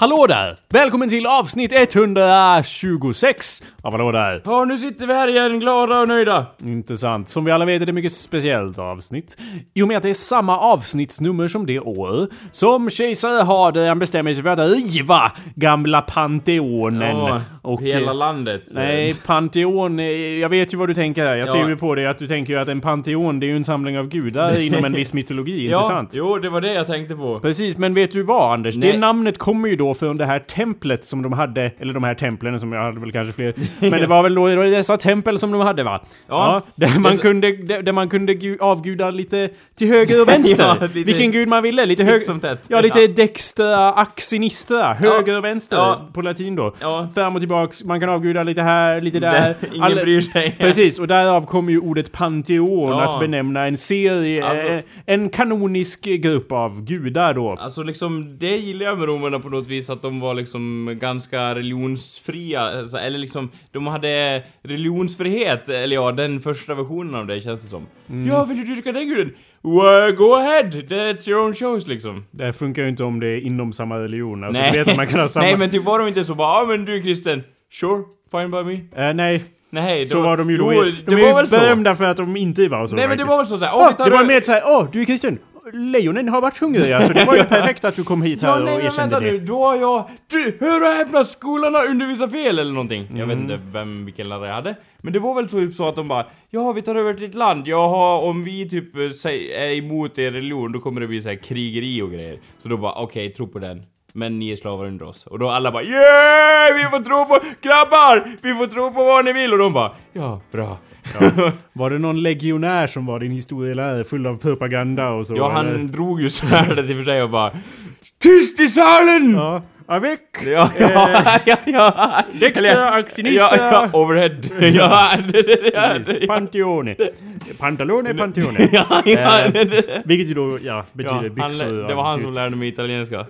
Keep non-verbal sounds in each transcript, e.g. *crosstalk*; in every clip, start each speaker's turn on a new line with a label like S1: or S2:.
S1: Hallå där! Välkommen till avsnitt 126 av Hallå där!
S2: Ja, nu sitter vi här igen, glada och nöjda.
S1: Intressant. Som vi alla vet är det ett mycket speciellt avsnitt. I och med att det är samma avsnittsnummer som det år som kejsare hade han bestämmer sig för att riva gamla Panteonen.
S2: Ja,
S1: och
S2: hela
S1: eh,
S2: landet.
S1: Nej, Panteon. eh, Jag vet ju vad du tänker här. Jag
S2: Ja.
S1: ser ju på dig att du tänker ju att en Panteon, det är ju en samling av
S2: *laughs*
S1: gudar inom en viss mytologi.
S2: ja,
S1: Intressant.
S2: Jo, det var det jag tänkte på.
S1: Precis, men vet du vad Anders? Det
S2: Nej.
S1: namnet kommer ju då från det här templet som de hade, eller de här templen som jag hade väl kanske
S2: *laughs*
S1: fler. Men det var väl då det var dessa tempel som de hade va?
S2: Ja.
S1: där, man
S2: Det-
S1: kunde, där där man kunde gu- avguda lite till höger och
S2: *laughs*
S1: vänster.
S2: Ja, lite-
S1: Vilken gud man ville. Lite höger...
S2: Titt som tätt.
S1: Ja, lite dextra, axinista. Höger och vänster
S2: Ja.
S1: på latin då.
S2: Ja.
S1: Fram och tillbaks, man kan avguda lite här, lite där.
S2: Ingen
S1: Alla-
S2: bryr sig.
S1: Precis, och därav kommer ju ordet panteon
S2: Ja.
S1: att benämna en serie,
S2: Alltså-
S1: eh, en kanonisk grupp av gudar då.
S2: Alltså liksom, det gillar jag med romarna på något vis, att de var liksom ganska religionsfria, alltså, eller liksom, de hade religionsfrihet, eller ja, den första versionen av det känns det som.
S1: Mm.
S2: Ja, vill du dyrka den guden? Well, go ahead, that's your own choice liksom.
S1: Det här funkar ju inte om det är inom samma religion. Alltså, nej. Du vet att man kan ha samma...
S2: *laughs* Nej, men typ var de inte så bara, ja men du är kristen, sure, fine by me.
S1: Eh, nej,
S2: Nej, det
S1: så var de ju då.
S2: Jo,
S1: i-
S2: det
S1: de
S2: var
S1: är ju
S2: väl så?
S1: berömda för att de inte var så
S2: Nej men det
S1: faktiskt.
S2: var väl så såhär, åh
S1: Åh,
S2: vi tar
S1: det var
S2: över-
S1: mer såhär, åh, du är kristen. Lejonen har varit hungriga, så det
S2: *laughs*
S1: var ju perfekt att du kom hit här
S2: Ja, nej
S1: och
S2: men
S1: erkände
S2: vänta
S1: det.
S2: nu, då har jag... Du, hör och häpna, skolan har undervisat fel eller någonting. Jag
S1: Mm.
S2: vet inte vem, vilken lärare jag hade. Men det var väl typ så att de bara, ja vi tar över ditt land, jaha om vi typ eh, säg- är emot er religion då kommer det bli så här krigeri och grejer. Så då bara, okej tro på den. Men ni är slavar under oss. Och då alla bara yeah! Vi får tro på... Grabbar! Vi får tro på vad ni vill! Och de bara ja, bra.
S1: Var det någon legionär som var din historielärare full av propaganda och så?
S2: Ja,
S1: eller?
S2: han drog ju svärdet i och för sig och bara Tyst i salen!
S1: Ja. Avec!
S2: Ja, ja, ja, ja.
S1: Dexter,
S2: Eller-
S1: axinista.
S2: Ja, ja, overhead. Ja, det, det, det, *laughs* ja,
S1: Precis.
S2: det. *laughs*
S1: Panteone. Pantalone, panteone.
S2: Ja, ja,
S1: Eh,
S2: det, det.
S1: Vilket ju då, ja, betyder
S2: Ja, han,
S1: byxor.
S2: det var han
S1: av
S2: som lärde mig *laughs* italienska.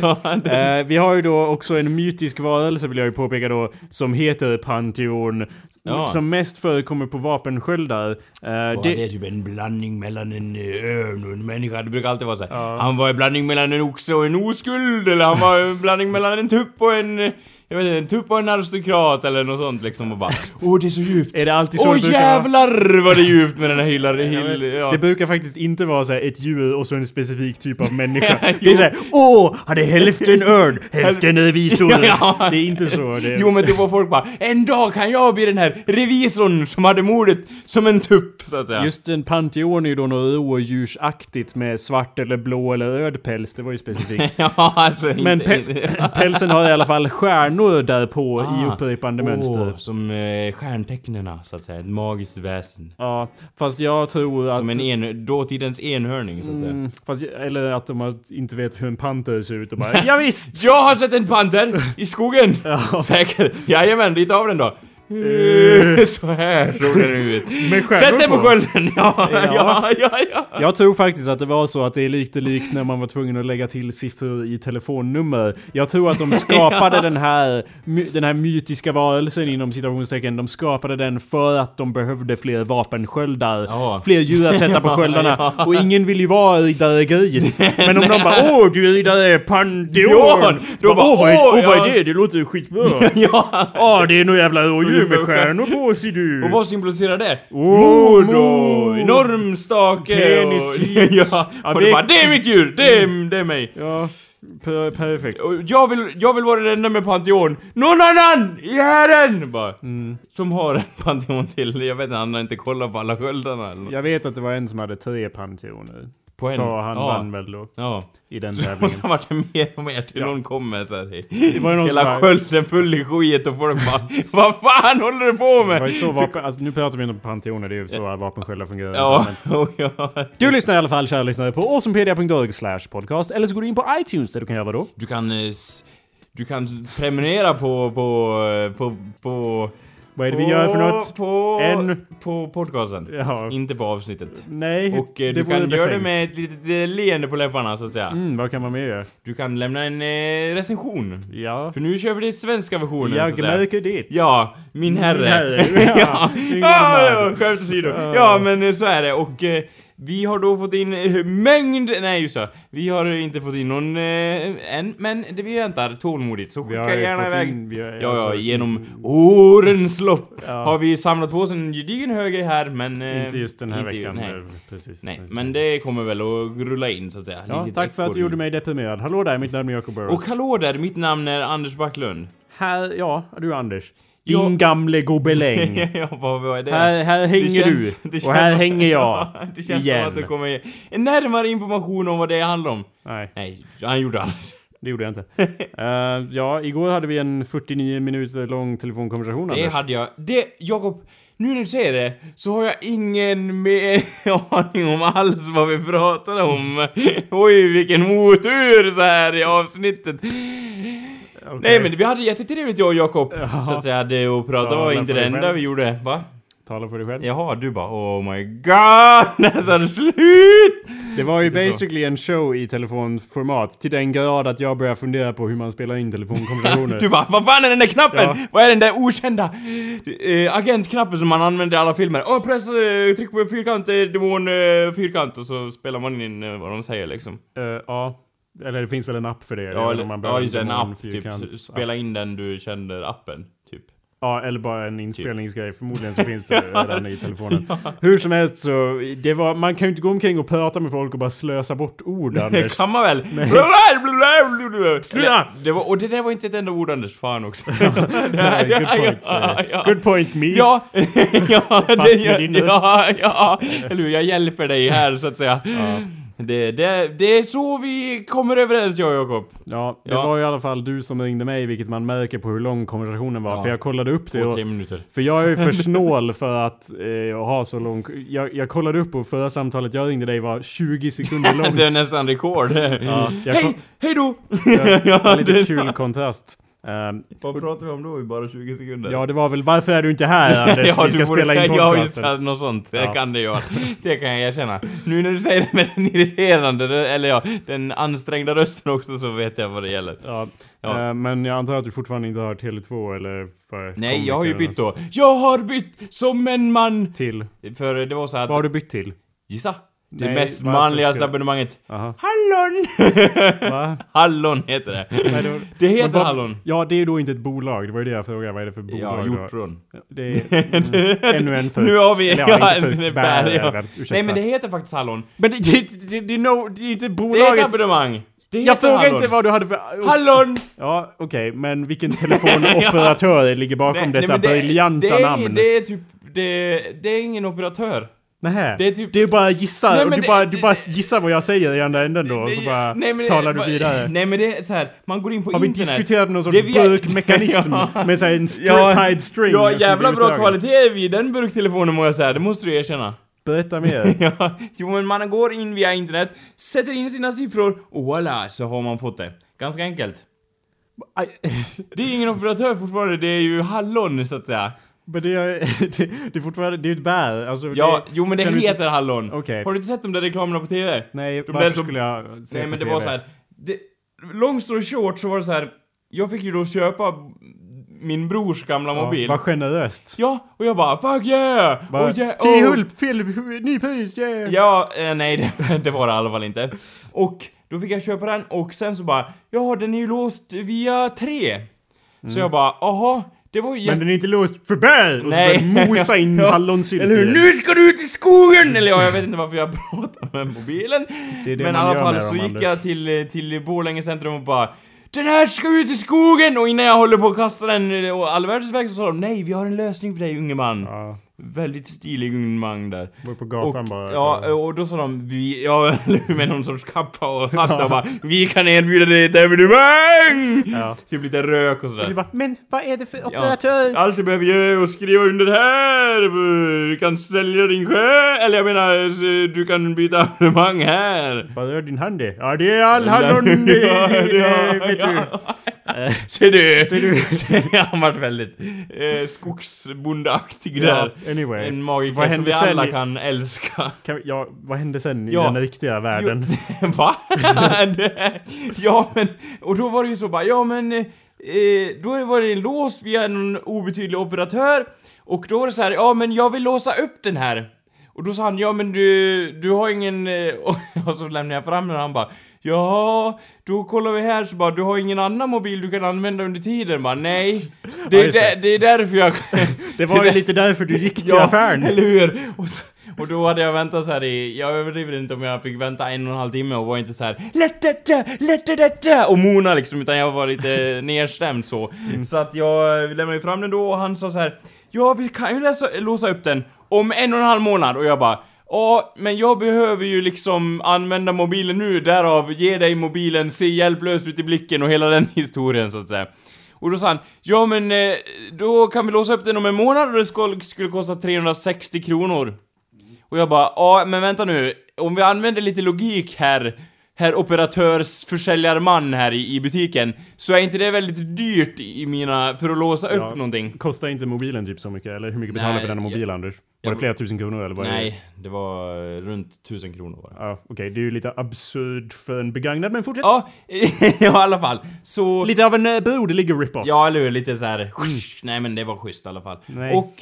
S2: ja, det.
S1: Eh, vi har ju då också en mytisk varelse vill jag ju påpeka då som heter Pantheon.
S2: Ja.
S1: Som mest förekommer på vapensköldar. Eh,
S2: det...
S1: det,
S2: är typ en blandning mellan en eh, örn och en människa. Det brukar alltid vara så. här, Han var en blandning mellan en oxe och en oskuld. Eller han var en blandning mellan en tupp och en... eh, Jag vet inte, en tupp och en aristokrat eller något sånt liksom och bara Åh det är så djupt!
S1: är det alltid så
S2: Åh
S1: det brukar vara?
S2: jävlar vad det är djupt med den här hyllan. Hyll, ja.
S1: Det brukar faktiskt inte vara så här ett djur och så en specifik typ av *laughs* människa. det är
S2: Jo.
S1: såhär Åh! Han är hälften *laughs* örn, hälften revisor.
S2: Ja.
S1: Det är inte så. Det,
S2: Jo men typ vad folk bara En dag kan jag bli den här revisorn som hade mordet som en tupp så att säga.
S1: Just en Pantheon är ju då något rådjursaktigt med svart eller blå eller röd päls. Det var ju specifikt.
S2: *laughs* Ja alltså inte,
S1: Men *laughs*
S2: inte- *laughs*
S1: pe- pälsen har i alla fall stjärnor där på i
S2: Ah.
S1: upprepande
S2: Åh,
S1: mönster.
S2: Som eh, stjärntecknena så att säga, ett magiskt väsen.
S1: Ja, fast jag tror att...
S2: Som en en, dåtidens enhörning så att säga.
S1: Mm, fast, eller att de har- inte vet hur en panter ser ut och bara ja, visst
S2: Jag har sett en panter
S1: *laughs*
S2: i skogen! Säkert! Jajamän, dit av den då! *laughs* så här såg den ut.
S1: Eh. Med stjärnor
S2: Sätt den på
S1: på.
S2: skölden! *laughs* Ja, ja, ja, ja.
S1: Jag tror faktiskt att det var så att det är lite likt när man var tvungen att lägga till siffror i telefonnummer. Jag tror
S2: *laughs*
S1: att de skapade den, här, my- den här mytiska varelsen inom citationstecken. De skapade den för att de behövde fler vapensköldar.
S2: *laughs* Ja.
S1: Fler djur att sätta på sköldarna. Och ingen vill ju vara riddare gris. Men om de
S2: *laughs*
S1: bara åh du är riddare Pantheon.
S2: Ja,
S1: Då
S2: då
S1: bara åh
S2: bara,
S1: vad är-
S2: "Åh,
S1: åh, vad är
S2: ja."
S1: det? Det låter ju
S2: *laughs*
S1: skitbra.
S2: ja.
S1: Ja det är nog jävla rådjur med stjärnor på sig du.
S2: Och vad symboliserar det?
S1: Oh,
S2: Mord och
S1: mord.
S2: normstake
S1: Penis *laughs*
S2: och...
S1: hit.
S2: ja,
S1: Ja, Mm.
S2: och
S1: vi-
S2: det bara det är mitt djur! Det är, det är mig!
S1: Ja, per- perfekt.
S2: Och jag vill, jag vill vara den enda med Pantheon. Någon annan! I hären! Bara.
S1: Mm.
S2: Som har en Pantheon till. Jag vet inte, han har inte kollat på alla sköldarna eller något.
S1: Jag vet att det var en som hade tre panteoner.
S2: På en.
S1: Så han
S2: ja.
S1: vann väl då
S2: Ja.
S1: i den
S2: Måste
S1: tävlingen.
S2: *laughs* ha varit det mer och mer till någon kommer såhär.
S1: var ju någon som bara-
S2: Hela skölden full i skit och folk bara Vad fan håller du på
S1: Det
S2: med?
S1: var ju så vapen, alltså, nu pratar vi inte om panteoner, det är ju så vapensköldar fungerar.
S2: Ja, *laughs*
S1: Men-
S2: och ja.
S1: Du lyssnar i alla fall, kära lyssnare, på awesomepedia.org slash podcast. Eller så går du in på iTunes där du kan göra vadå?
S2: Du kan... eh, s- Du kan prenumerera på... på... eh, på... på
S1: Vad är det vi gör för något?
S2: På...
S1: En-
S2: På podcasten.
S1: Ja.
S2: Inte på avsnittet.
S1: Nej,
S2: Och eh, du
S1: vore
S2: kan göra det
S1: befängt.
S2: med ett litet eh, leende på läpparna så att säga.
S1: Mm, vad kan man mer göra?
S2: Du kan lämna en eh, recension.
S1: Ja.
S2: För nu kör vi den svenska versionen så att
S1: Jag
S2: säga.
S1: märker det.
S2: Ja, min herre. *laughs*
S1: herre. Ja,
S2: ja,
S1: min
S2: ja,
S1: gammal.
S2: ja, skämt åsido.
S1: Ja.
S2: Ja, men eh, så är det. Och eh, Vi har då fått in eh, mängd... Nej just det. Vi har inte fått in någon eh, än, men det vi väntar tålmodigt. Så
S1: Vi har
S2: skicka
S1: ju
S2: gärna
S1: fått
S2: iväg...
S1: in- vi har-
S2: ja, ja,
S1: alltså,
S2: genom årens lopp
S1: Ja.
S2: har vi samlat på oss en gedigen hög här, men... eh,
S1: Inte just den här
S2: inte ju-
S1: veckan.
S2: nej.
S1: eh, Precis.
S2: Nej, men det kommer väl att rulla in så att säga.
S1: Ja,
S2: Lite
S1: tack för att du
S2: ekorrhjul.
S1: gjorde mig deprimerad. Hallå där, mitt namn är Jacob Burrows.
S2: Och hallå där, mitt namn är Anders Backlund.
S1: Här, ja, du Anders. Din
S2: Ja.
S1: gamle *laughs* gobeläng.
S2: *laughs* ja, vad vad är det?
S1: här, här
S2: Det
S1: hänger
S2: känns-
S1: du.
S2: det känns
S1: och här
S2: som-
S1: hänger
S2: *laughs*
S1: jag.
S2: det känns
S1: igen.
S2: som att det kommer ge- närmare information om vad det handlar om.
S1: Nej,
S2: Nej, han gjorde aldrig.
S1: det gjorde jag inte. *laughs* Eh, ja, igår hade vi en 49 minuter lång telefonkonversation,
S2: Det
S1: Anders.
S2: hade jag. Det, Jakob, nu när du säger det så har jag ingen mer *laughs* aning om alls vad vi pratade om. *laughs* Oj, vilken otur så här i avsnittet.
S1: Okej.
S2: Nej men vi hade jättetrevligt jag och Jakob.
S1: Ja.
S2: Så att säga, det och prata
S1: Ja,
S2: var
S1: men
S2: inte
S1: för
S2: det
S1: dig
S2: enda
S1: själv.
S2: vi gjorde. Va?
S1: Tala för dig själv.
S2: Jaha, du bara oh my god, *laughs* när tar det slut?
S1: Det var ju
S2: så.
S1: basically en show i telefonformat. Till den grad att jag började fundera på hur man spelar in telefonkonversationer.
S2: *laughs* Du bara, vad fan är den där knappen?
S1: Ja.
S2: Vad är den där okända eh, agentknappen som man använder i alla filmer? Åh, press, eh, tryck på fyrkant, eh, demon, eh, fyrkant och så spelar man in eh, vad de säger liksom.
S1: Eh, ja. Eller det finns väl en app för det?
S2: Ja,
S1: eller om
S2: eller,
S1: man behöver
S2: ja just det, en
S1: demon,
S2: app
S1: fyrkant,
S2: typ. Spela in den du känner appen, typ.
S1: Ja, eller bara en inspelningsgrej. Förmodligen så
S2: *laughs*
S1: finns det redan i telefonen. Hur som helst så, det var, man kan ju inte gå omkring och prata med folk och bara slösa bort ord,
S2: Det
S1: Anders.
S2: kan man väl?
S1: Sluta!
S2: Eller, Det var, och det där var inte ett enda ord Anders,
S1: *laughs*
S2: fan också. *laughs*
S1: Nej, Good point, säger
S2: ja, ja.
S1: jag. Good point me.
S2: Ja, *laughs* ja, det,
S1: med
S2: ja,
S1: din
S2: ja, ja, eller hur, jag hjälper dig här så att säga. Det, det, det är så vi kommer överens jag och Jakob.
S1: Ja, det
S2: Ja.
S1: var i alla fall du som ringde mig, vilket man märker på hur lång konversationen var.
S2: Ja.
S1: För jag kollade upp det
S2: Två,
S1: och
S2: tre minuter.
S1: För jag är ju för snål för att eh, ha så lång... Jag, jag kollade upp och förra samtalet jag ringde dig var 20
S2: *laughs*
S1: sekunder långt.
S2: *laughs* Det är nästan rekord.
S1: ja, jag
S2: Hej, hej då!
S1: ja,
S2: *laughs*
S1: lite
S2: det-
S1: kul kontrast. Ehm,
S2: Vad pratar vi om då i bara 20 sekunder?
S1: ja, det var väl varför är du inte
S2: *laughs*
S1: här Anders? Vi ska
S2: du borde-
S1: spela in
S2: Ja, just
S1: podcasten.
S2: det, något sånt. Det
S1: Ja.
S2: kan det göra. Det kan jag erkänna. Nu när du säger det med den irriterande, rö- eller ja, den ansträngda rösten också så vet jag vad det gäller.
S1: Ja.
S2: Ja.
S1: eh, men jag antar att du fortfarande inte har Tele2 eller... vad-
S2: Nej, jag har ju
S1: komiker
S2: bytt då. Jag har bytt som en man!
S1: Till?
S2: För det var så
S1: Vad har
S2: att,
S1: du bytt till?
S2: gissa? Det
S1: Nej,
S2: mest
S1: varför
S2: manligaste
S1: skulle-
S2: abonnemanget.
S1: Aha.
S2: Hallon! *laughs*
S1: Va?
S2: Hallon heter det.
S1: Nej, det, var...
S2: Det heter
S1: Men vad-
S2: Hallon.
S1: Ja, det är då inte ett bolag. Det var ju det jag frågade. Vad är det för bolag
S2: Ja,
S1: du har?
S2: hjortron.
S1: Det
S2: *laughs*
S1: är mm, ännu en fukt.
S2: Nu har vi...
S1: Eller, ja, inte
S2: *laughs* en
S1: fukt.
S2: bär, ja.
S1: bär,
S2: Nej men det heter faktiskt Hallon.
S1: Men det, det, det, det, är no, det är inte
S2: Det är ett
S1: bolaget.
S2: abonnemang. Det heter
S1: jag frågar
S2: Hallon.
S1: inte vad du hade för...
S2: Hallon!
S1: Ja, okej, men vilken
S2: *laughs*
S1: telefonoperatör ligger bakom
S2: Nej,
S1: detta
S2: nej, men det-
S1: briljanta
S2: det är,
S1: namn?
S2: Det är typ... Det, det är ingen operatör.
S1: Nähä.
S2: det är typ-
S1: Du bara gissar,
S2: Nej,
S1: och
S2: men
S1: du,
S2: det-
S1: bara, du
S2: det-
S1: bara gissar vad jag säger i andra änden då, och så
S2: Det-
S1: bara
S2: men det-
S1: talar
S2: va-
S1: du vidare.
S2: Nej men det är så här. man går in på
S1: Har vi
S2: internet.
S1: diskuterat någon sorts
S2: Det är via-
S1: burkmekanism
S2: *laughs* Ja.
S1: med så här en str- tied string? Alltså,
S2: Ja,
S1: som blir
S2: jävla bra
S1: uttagen?
S2: kvalitet vid den burktelefonen må jag säga, det måste du erkänna.
S1: Berätta *laughs* mer.
S2: *laughs* Ja, jo men man går in via internet, sätter in sina siffror och voilà så har man fått det. Ganska enkelt.
S1: Aj.
S2: Det är ingen operatör fortfarande, det är ju hallon så att säga.
S1: Men det är, det, det är fortfarande, det är ett bär. Alltså,
S2: Ja,
S1: det,
S2: jo men det
S1: kan du
S2: heter
S1: inte-
S2: hallon.
S1: Okej.
S2: Har du inte sett de där reklamerna på TV?
S1: Nej,
S2: där
S1: varför
S2: som-
S1: skulle jag se
S2: Nej men
S1: på
S2: det
S1: TV?
S2: var så här. Det, long story short så var det så här. jag fick ju då köpa min brors gamla mobil.
S1: Ja, vad generöst.
S2: Ja, och jag bara 'Fuck yeah!'
S1: Bara,
S2: oh, yeah
S1: T.
S2: oh.
S1: Hulp, fel, ny pris, yeah.
S2: Ja, eh, nej *laughs* det, det var det i alla fall inte. Och då fick jag köpa den och sen så bara 'Ja, den är ju låst via 3' Så jag bara 'Jaha, det var ju
S1: Mm. Men
S2: jätte-
S1: den är inte låst för bär! Och så
S2: Nej.
S1: börjar mosa in
S2: *laughs* Ja,
S1: hallonsylt
S2: Eller hur?
S1: i.
S2: Nu ska du ut i skogen! Eller ja, jag vet inte varför jag *laughs* pratar med mobilen.
S1: Det är det
S2: Men i
S1: man
S2: alla
S1: gör
S2: fall
S1: med
S2: så
S1: dem,
S2: gick
S1: Anders.
S2: jag till, eh, till Borlänge centrum och bara den här ska ut i skogen! Och innan jag håller på att kasta den eh, och all världens väg så sa de Nej, vi har en lösning för dig unge man.
S1: Ja,
S2: Väldigt stilig unge man där.
S1: går på
S2: Och,
S1: gatan bara.
S2: ja, och då sa de vi, ja, *laughs* med någon sorts kappa och hatt och bara Vi kan erbjuda dig ett evenemang! *laughs*
S1: Ja.
S2: Typ lite rök och
S1: Du
S2: sådär.
S1: bara, men vad är det för
S2: Ja.
S1: operatör?
S2: Allt du behöver göra är att skriva under här! Du kan sälja din sjö! Eller jag menar, s- du kan byta abonnemang här!
S1: Vad gör din hand det? Ja, det är all hallon... eh,
S2: Ja, ja,
S1: eh, vet du.
S2: ja. *laughs* Ser du?
S1: Ser du?
S2: Han vart väldigt eh, skogsbondeaktig
S1: Ja,
S2: där.
S1: anyway.
S2: En
S1: Så vad
S2: magiker som
S1: hände
S2: vi
S1: sen
S2: alla
S1: i-
S2: kan älska.
S1: Kan vi, ja, vad hände sen
S2: Ja.
S1: i den riktiga världen?
S2: Jo, *laughs* va? Det- ja men, och då var det ju så bara, ja men, eh, eh, då var det låst via en obetydlig operatör och då var det så här, ja men jag vill låsa upp den här. Och då sa han, ja men du, du har ingen... eh, *laughs* Och så lämnade jag fram den och han bara, ja då kollar vi här så bara, du har ingen annan mobil du kan använda under tiden? Bara, nej.
S1: *laughs*
S2: Det
S1: Ja,
S2: är,
S1: just det.
S2: där- det är därför jag...
S1: *laughs* Det
S2: *laughs*
S1: var ju lite därför du gick till affären.
S2: Eller hur? Och, så, och då hade jag väntat så här i, jag överdriver inte om jag fick vänta en och en halv timme och var inte så här "Lätt detta, lätt detta" och mona liksom, utan jag var lite nedstämd så. Så att jag lämnade ju fram den då och han sa så här ja vi kan ju läsa, låsa upp den om en och en halv månad och jag bara Ja, men jag behöver ju liksom använda mobilen nu, därav ge dig mobilen, se hjälplös ut i blicken och hela den *laughs* historien så att säga. Och då sa han, ja men eh, då kan vi låsa upp den om en månad och det skulle, skulle kosta 360 kronor. Och jag bara, ja men vänta nu, om vi använder lite logik här, herr operatörsförsäljarman här i, i butiken, så är inte det väldigt dyrt i mina, för att låsa upp
S1: Ja.
S2: någonting?
S1: Kostar inte mobilen typ så mycket? Eller hur mycket betalar du
S2: Nej,
S1: för denna mobil
S2: jag-
S1: Anders? Var
S2: jag-
S1: det flera tusen kronor eller vad är det?
S2: Nej, det var eh, runt 1000 kronor bara.
S1: Ja, okej, det är ju lite absurd för en begagnad, men fortsätt.
S2: Ja, *laughs* i alla fall. Så...
S1: Lite av en eh, broderlig rip-off.
S2: Ja, eller hur? Lite så här. "Husch." Nej, men det var schysst i alla fall.
S1: Nej.
S2: Och,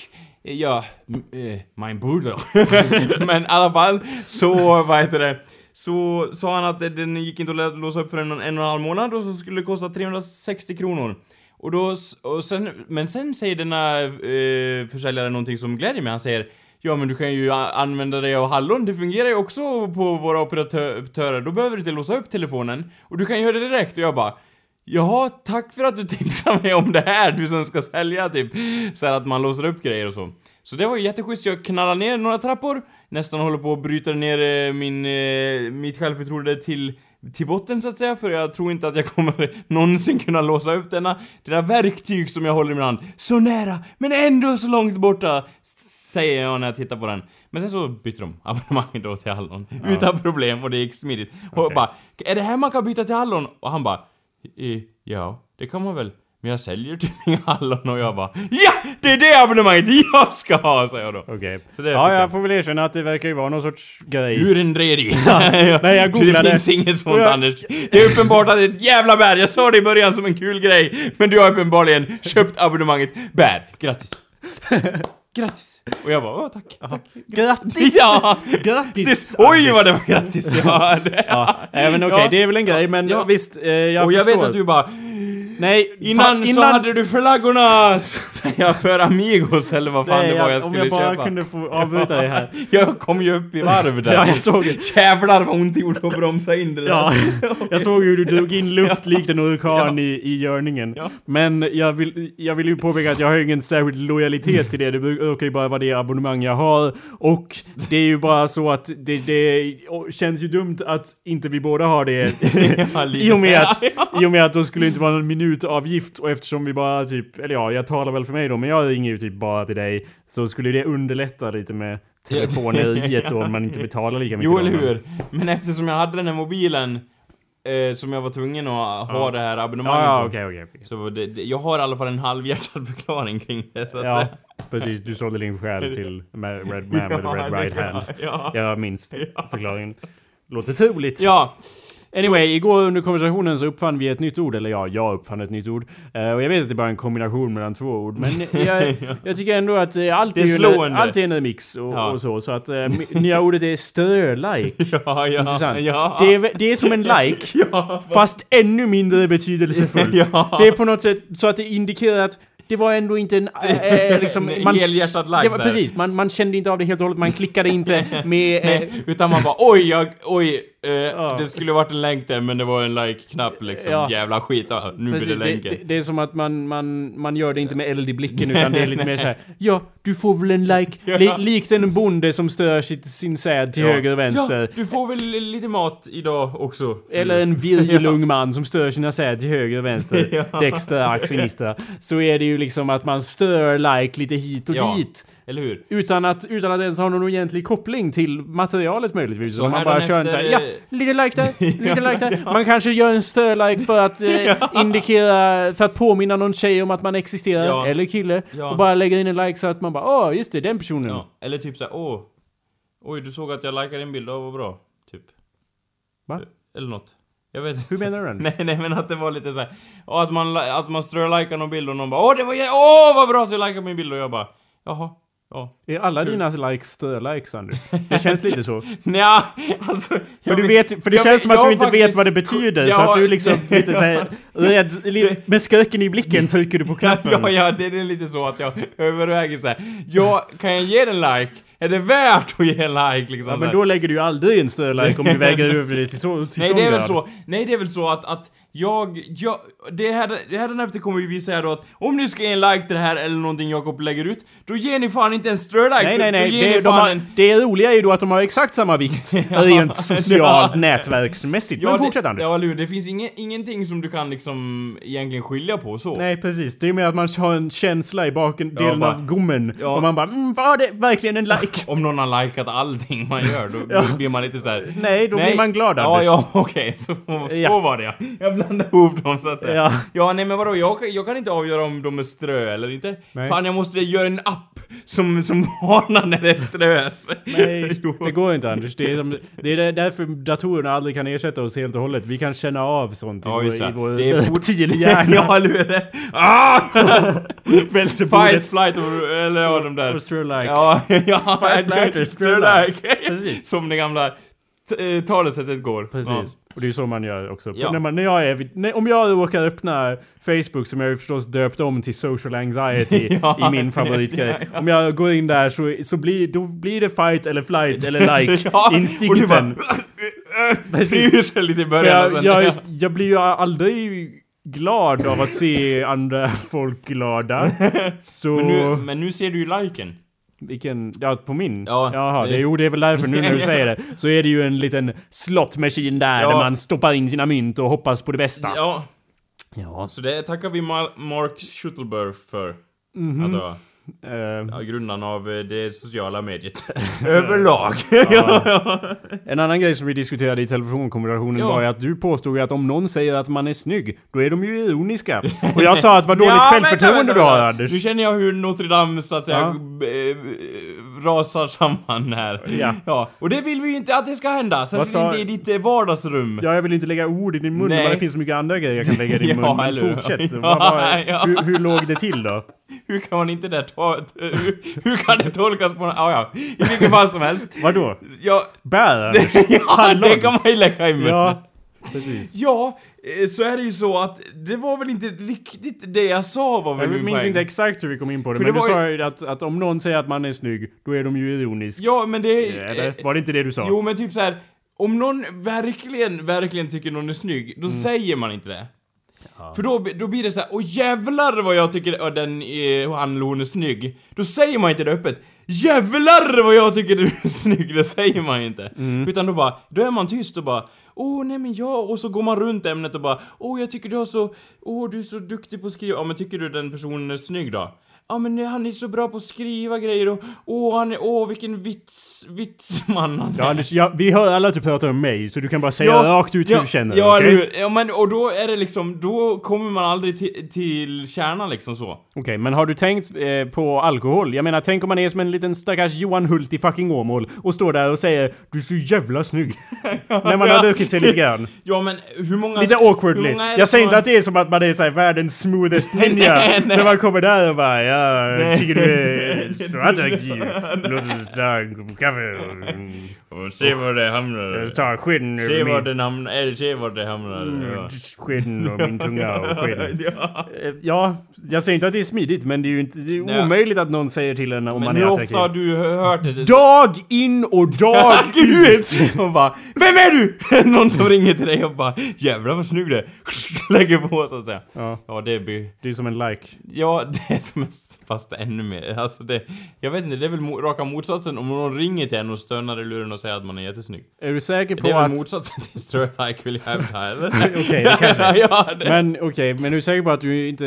S2: eh, ja, m- eh, mein Bruder. *laughs* men i alla fall, så, vad heter det? Så sa han att eh, den gick inte att lä- låsa upp för en, en och en halv månad och så skulle det kosta 360 kronor. Och då, s- och sen, men sen säger denna eh, försäljare någonting som glädjer mig. Han säger Ja men du kan ju a- använda dig av hallon, det fungerar ju också på våra operatö- operatörer, då behöver du inte låsa upp telefonen. Och du kan göra det direkt och jag bara Jaha, tack för att du tipsade mig om det här, du som ska sälja typ. Så här att man låser upp grejer och så. Så det var ju jätteschysst, jag knallade ner några trappor, nästan håller på att bryta ner eh, min, eh, mitt självförtroende till, till botten så att säga, för jag tror inte att jag kommer *laughs* någonsin kunna låsa upp denna, denna verktyg som jag håller i min hand. Så nära, men ändå så långt borta, s- säger jag när jag tittar på den. Men sen så bytte de abonnemang då till Hallon, utan problem och det gick smidigt. Och
S1: Okej.
S2: bara, är det här man kan byta till Hallon? Och han bara, "Eh, ja, det kan man väl. Men jag säljer typ inga *laughs* hallon och jag bara Ja! Det är det abonnemanget jag ska ha! säger jag då.
S1: Okej.
S2: Så det
S1: Ja,
S2: fick
S1: jag
S2: jag.
S1: får väl erkänna att det verkar ju vara någon sorts grej. *laughs*
S2: Lurendrejeri.
S1: nej, jag googlade.
S2: *laughs* Det finns inget sånt
S1: Och jag-
S2: Anders. Det är uppenbart att det är ett jävla bär. Jag sa det i början som en kul grej. Men du har uppenbarligen köpt abonnemanget bär. Grattis. Grattis. Och jag bara, åh tack. tack. *laughs*
S1: Grattis!
S2: Ja!
S1: Grattis!
S2: Det, oj vad det var grattis jag hörde.
S1: Ja, även okej,
S2: Ja.
S1: det är väl en grej, men
S2: Ja.
S1: visst, eh, jag
S2: Och jag
S1: förstår.
S2: vet att du bara
S1: Nej, ta-
S2: Innan, så hade du flaggorna! *laughs* Säger jag för Amigos eller vad fan
S1: Nej,
S2: det var jag,
S1: om
S2: skulle
S1: jag bara
S2: köpa.
S1: kunde få avbryta dig
S2: *laughs*
S1: här.
S2: jag kom ju upp i varv där.
S1: *laughs* Ja, jag såg det.
S2: Jävlar vad ont det gjorde att bromsa in det där. *laughs*
S1: Ja, jag såg hur du drog in luft likt en orkan i, i görningen.
S2: Ja.
S1: Men jag vill, jag vill ju påpeka att jag har ju ingen särskild lojalitet till det. Det brukar ju bara vara det abonnemang jag har. Och det är ju bara så att det, det känns ju dumt att inte vi båda har det.
S2: Ja, lite.
S1: I och med att,
S2: Ja,
S1: i och med att då skulle det inte vara någon minutavgift och eftersom vi bara typ, eller ja, jag talar väl för mig då, men jag ringer ju typ bara till dig. Så skulle det underlätta lite med telefoneriet
S2: *laughs*
S1: då om man inte betalar lika mycket.
S2: *laughs* Jo
S1: då,
S2: eller
S1: men-
S2: hur? Men eftersom jag hade den här mobilen eh, som jag var tvungen att ha
S1: Ja.
S2: det här abonnemanget
S1: Ja, ja,
S2: på,
S1: okej, okej. okej.
S2: Så var det, det, jag har i alla fall en halvhjärtad förklaring kring det så att
S1: Ja,
S2: säga.
S1: precis. Du sålde din själ
S2: *laughs*
S1: till Ma- Red Man with
S2: Ja,
S1: the Red
S2: det-
S1: Right Hand.
S2: Ja.
S1: Jag minns förklaringen. Låter troligt.
S2: ja.
S1: Anyway, igår under konversationen så uppfann vi ett nytt ord, eller ja, jag uppfann ett nytt ord. Eh, och jag vet att det är bara en kombination mellan två ord,
S2: *laughs*
S1: men jag, jag tycker ändå att uh, allt,
S2: Det
S1: är
S2: är
S1: ju en,
S2: slående.
S1: allt är en mix och,
S2: Ja.
S1: och så. Så att uh, nya ordet är stör-like.
S2: Ja, *laughs* ja,
S1: Intressant.
S2: ja.
S1: Det, är, det är som en like,
S2: *laughs* ja.
S1: fast ännu mindre betydelsefullt.
S2: *laughs* Ja.
S1: Det är på något sätt så att det indikerar att det var ändå inte en... Äh, liksom,
S2: *laughs* En
S1: man,
S2: helhjärtad like
S1: det var,
S2: där.
S1: Precis, man, man kände inte av det helt och hållet, man klickade inte med... eh, *laughs*
S2: *laughs* Nej, utan man bara oj, jag, oj, eh, det skulle varit en länk där men det var en like-knapp liksom.
S1: Ja.
S2: Jävla skit, ah, nu
S1: Precis,
S2: blir det
S1: det,
S2: länken.
S1: det, det är som att man, man, man gör det inte med eld i
S2: *laughs*
S1: blicken utan det är lite mer såhär Ja, du får väl en like. Li,
S2: Ja.
S1: likt en bonde som stör sitt, sin säd till
S2: Ja.
S1: höger och vänster.
S2: Ja, du får väl lite mat idag också.
S1: Eller en
S2: *laughs*
S1: virgelung man som stör sina säd till höger och vänster.
S2: Ja.
S1: Dexter, axinista. Så är det ju liksom att man stör like lite hit och
S2: Ja.
S1: dit.
S2: Eller hur?
S1: Utan att, utan att ens ha någon egentlig koppling till materialet möjligtvis.
S2: Så
S1: Så man bara
S2: hädanefter,
S1: kör en såhär,
S2: eh,
S1: ja, lite like där,
S2: *laughs*
S1: lite like där. Man kanske gör en stör-like för att eh, indikera, för att påminna någon tjej om att man existerar,
S2: Ja.
S1: eller kille.
S2: Ja.
S1: Och bara lägga in en like så att man bara, åh, just det, den personen.
S2: Ja. Eller typ såhär, åh, oj du såg att jag likade din bild, ja vad bra. Typ.
S1: Va?
S2: Eller något. Jag vet
S1: Hur menar du den?
S2: *laughs* Nej, nej men att det var lite såhär, att man, li- att man strölikar någon bild och någon bara åh det var jä- åh vad bra att du likade min bild och jag bara jaha, Ja. *laughs*
S1: Är alla dina likes likes Andrew? Det känns lite så.
S2: Nja, alltså...
S1: För,
S2: jag
S1: du
S2: vet-
S1: vet, för det
S2: jag
S1: känns
S2: vet-
S1: som att
S2: jag
S1: du
S2: har
S1: inte vet
S2: faktiskt-
S1: vad det betyder,
S2: jag
S1: så att
S2: har-
S1: du liksom
S2: det-
S1: lite
S2: *laughs*
S1: såhär rädd, li, med skräcken i blicken trycker du på knappen.
S2: Ja, ja, det är lite så att jag *laughs* överväger så här. Ja, kan jag ge den like? Är det värt att ge en like liksom?
S1: Ja,
S2: så
S1: men
S2: här?
S1: då lägger du ju aldrig en större like om du
S2: *laughs*
S1: väger över det till så till
S2: Nej
S1: sån
S2: det är väl
S1: grad.
S2: så, nej det är väl så att, att jag, jag, det här, det här efter kommer ju vi säga då att om ni ska ge en like till det här eller någonting Jakob lägger ut, då ger ni fan inte en strö-like,
S1: Nej, nej,
S2: då,
S1: nej.
S2: då ger
S1: Det, de
S2: ni fan
S1: har,
S2: en...
S1: det roliga är ju då att de har exakt samma
S2: *laughs*
S1: vikt rent socialt nätverksmässigt. Men fortsätt
S2: det,
S1: Anders.
S2: Ja, Lur, det finns ingen, ingenting som du kan liksom egentligen skilja på så.
S1: Nej precis, det är mer att man har en känsla i bakdelen
S2: Ja, bara-
S1: av gommen.
S2: Ja.
S1: Och man bara mm, var det verkligen en like? *laughs*
S2: *laughs* Om någon har likat allting man gör, då då blir man lite såhär...
S1: Nej, då blir man glad
S2: Ja,
S1: Anders.
S2: ja, *laughs* okej. Så, så
S1: Ja.
S2: var det ja. Jag blandade ihop dem så att säga.
S1: Ja.
S2: Ja, nej men vadå, jag, jag kan inte avgöra om de är strö eller inte.
S1: Nej.
S2: Fan, jag måste göra en app som, som *laughs* varnar när det är strös.
S1: Nej,
S2: *laughs* Jo.
S1: det går inte Anders. Det är, som, det är där- därför datorerna aldrig kan ersätta oss helt och hållet. Vi kan känna av sånt i
S2: Ja, just
S1: vår, i
S2: det.
S1: vår
S2: Det
S1: *laughs*
S2: är fort-
S1: reptilhjärna.
S2: *laughs* ja, eller hur är det? Ah!
S1: *laughs* Välter bordet.
S2: Fight, flight och, eller ja, de där.
S1: Och strö like.
S2: Ja, *laughs* ja,
S1: Fight,
S2: det är
S1: flight,
S2: strö
S1: strö-like.
S2: like.
S1: Precis.
S2: Som det gamla t- eh, talesättet går.
S1: Precis. Och det är så man gör också.
S2: Ja.
S1: När man, när jag är, vid- när, om jag råkar öppna Facebook, som jag ju förstås döpt om till social anxiety
S2: *laughs* Ja,
S1: i min favoritgrej.
S2: *laughs*
S1: Om jag går in där så, så blir, då blir det fight eller flight eller like.
S2: *laughs* Ja, och du bara- *laughs*
S1: Instinkten. Precis.
S2: Precis. lite i
S1: För
S2: början och
S1: jag,
S2: sen...
S1: jag, jag blir ju aldrig glad av att se andra folk glada.
S2: *laughs*
S1: Så...
S2: *laughs* Men nu, men nu ser du ju liken.
S1: Vilken? Ja, på min?
S2: Ja.
S1: Jaha, det, jo det är väl därför nu
S2: *laughs*
S1: när du säger det. Så är det ju en liten slot machine där,
S2: Ja.
S1: där man stoppar in sina mynt och hoppas på det bästa.
S2: Ja,
S1: Ja.
S2: så det tackar vi Ma- Mark Schutelberg för.
S1: Mhm.
S2: Att vara
S1: Eh,
S2: ja, grundaren av eh, det
S1: *laughs*
S2: sociala mediet. Överlag.
S1: en annan grej som vi diskuterade i telefonkonversationen
S2: Ja.
S1: var ju att du påstod ju att om någon säger att man är snygg, då är de ju
S2: *laughs*
S1: ironiska. Och jag sa att vad dåligt
S2: Ja, vänta,
S1: självförtroende
S2: vänta,
S1: du har
S2: vänta.
S1: Anders.
S2: Nu känner jag hur Notre Dame så att säga
S1: Ja.
S2: b- eh, rasar samman här.
S1: Ja.
S2: Och det vill vi ju inte att det ska hända. Särskilt
S1: sa-
S2: inte i ditt eh, vardagsrum.
S1: Ja, jag vill inte lägga ord i din mun,
S2: Nej.
S1: men det finns så mycket andra grejer jag kan lägga i din
S2: *laughs* Ja,
S1: mun. Men
S2: eller hur?
S1: fortsätt.
S2: *laughs* Ja,
S1: Vad var-
S2: ja.
S1: hur, hur låg det till då?
S2: Hur kan man inte det ta... *laughs* t- Hur, hur kan det tolkas på... Ah, ja. I vilket fall som helst.
S1: Vadå?
S2: *laughs* Ja,
S1: Bär? Anders?
S2: ja
S1: Hallon?
S2: det kan man ju lägga i munnen.
S1: Ja, precis.
S2: Ja, eh, så är det ju så att det var väl inte riktigt det jag sa var väl
S1: Jag
S2: min
S1: minns
S2: poäng.
S1: inte exakt hur vi kom in på det,
S2: För
S1: men
S2: det
S1: du
S2: var ju-
S1: sa ju att, att om någon säger att man är snygg, då är de ju ironisk.
S2: Ja, men det... eh,
S1: Eller? Var det inte det du sa?
S2: Jo, men typ så här. Om någon verkligen, verkligen tycker någon är snygg, då säger man inte det. För då, då blir det så här, åh jävlar vad jag tycker att den, eh, han eller hon är snygg. Då säger man inte det öppet. Jävlar vad jag tycker du är *laughs* snygg, det säger man ju inte. Utan då bara, då är man tyst och bara, åh nej men jag, och så går man runt ämnet och bara, åh jag tycker du har så, åh du är så duktig på att skriva, ja men tycker du den personen är snygg då? Ja men han är så bra på att skriva grejer och åh han är, åh vilken vits, vitsman han är.
S1: Ja, Anders, ja, vi hör alla att du pratar om mig, så du kan bara säga rakt ut hur du känner.
S2: Ja,
S1: okej?
S2: eller hur? ja men och då är det liksom, då kommer man aldrig till, till kärnan liksom så.
S1: Okej, men har du tänkt eh, på alkohol? Jag menar, tänk om man är som en liten stackars Johan Hult i fucking Åmål och står där och säger “Du är så jävla
S2: *laughs*
S1: snygg” när man har druckit sig lite grann.
S2: Ja men hur många...
S1: Lite awkwardly.
S2: hur många är det
S1: Jag säger
S2: som
S1: inte
S2: har-
S1: att det är som att man är såhär världens smoothest ninja.
S2: *laughs* Nej, nej.
S1: När man kommer där och bara ja, jag tycker du
S2: *laughs*
S1: är så attraktiv. Låt oss ta en kopp kaffe
S2: *laughs*
S1: och
S2: Och Se var det hamnar.
S1: Eh, ta skinn
S2: Se
S1: över
S2: var
S1: min... Mm.
S2: den hamnar, eller eh, se var det hamnar. Ja.
S1: Skinn och min tunga och skinn.
S2: Ja.
S1: Eh, Ja, jag säger inte att det är smidigt men det är ju inte, det är
S2: Nej.
S1: omöjligt att någon säger till en om
S2: Men
S1: man
S2: hur
S1: är
S2: ofta
S1: attraktiv.
S2: har du hört det?
S1: Dag in och dag ut! *laughs*
S2: Och bara Vem är du? *laughs* Någon som ringer till dig och bara Jävlar vad snygg du är. *laughs* Lägger på så att säga.
S1: Ja,
S2: Ja det blir...
S1: det är som en like.
S2: Ja, det är som är fast ännu mer. Alltså det, jag vet inte, det är väl mo- raka motsatsen om någon ringer till en och stönar i luren och säger att man är jättesnygg.
S1: Är du säker på
S2: Det är
S1: att...
S2: väl motsatsen till strö-like vill jag hävda, eller?
S1: *laughs* Okej, det kanske-
S2: *laughs* ja, det,
S1: Men okej, men du är säker på att du inte...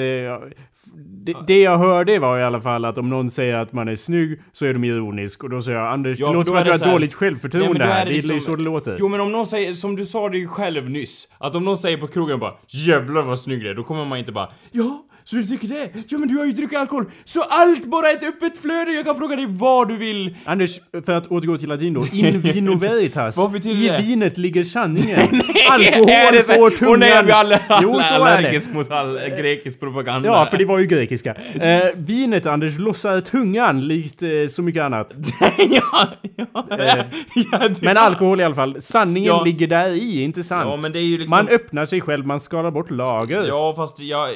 S1: Det, det jag hörde var i alla fall att om någon säger att man är snygg så är de ironisk. Och då säger jag Anders,
S2: Ja,
S1: det
S2: för
S1: låter
S2: då
S1: som
S2: är
S1: att
S2: det
S1: du har
S2: så här-
S1: dåligt
S2: Nej, men
S1: självförtroende
S2: då är
S1: här.
S2: det
S1: Det är
S2: liksom-
S1: ju så det låter.
S2: Jo men om någon säger, som du sa det ju själv nyss, att om någon säger på krogen bara 'Jävlar vad snygg du är' då kommer man inte bara 'Ja, Så du tycker det? Ja men du har ju druckit alkohol. Så allt bara ett öppet flöde, jag kan fråga dig vad du vill. *laughs*
S1: Anders, för att återgå till latin då. In vino veritas.
S2: Vad betyder
S1: I
S2: det?
S1: vinet ligger
S2: *laughs*
S1: sanningen.
S2: Är
S1: Alkohol
S2: det så-
S1: får
S2: Åh nej, jag blir
S1: tungan...
S2: alla, alla
S1: Jo, så är det.
S2: allergisk mot all eh, grekisk propaganda.
S1: Ja, för det var ju grekiska. Eh, vinet, Anders, lossar tungan likt eh, så mycket annat.
S2: *laughs* *laughs* ja, ja,
S1: Eh,
S2: *laughs* ja, du-
S1: Men alkohol i alla fall. Sanningen
S2: Ja.
S1: ligger där i, inte sant?
S2: Ja, men det är ju liksom-
S1: Man öppnar sig själv, man skalar bort lager.
S2: Ja, fast jag... eh,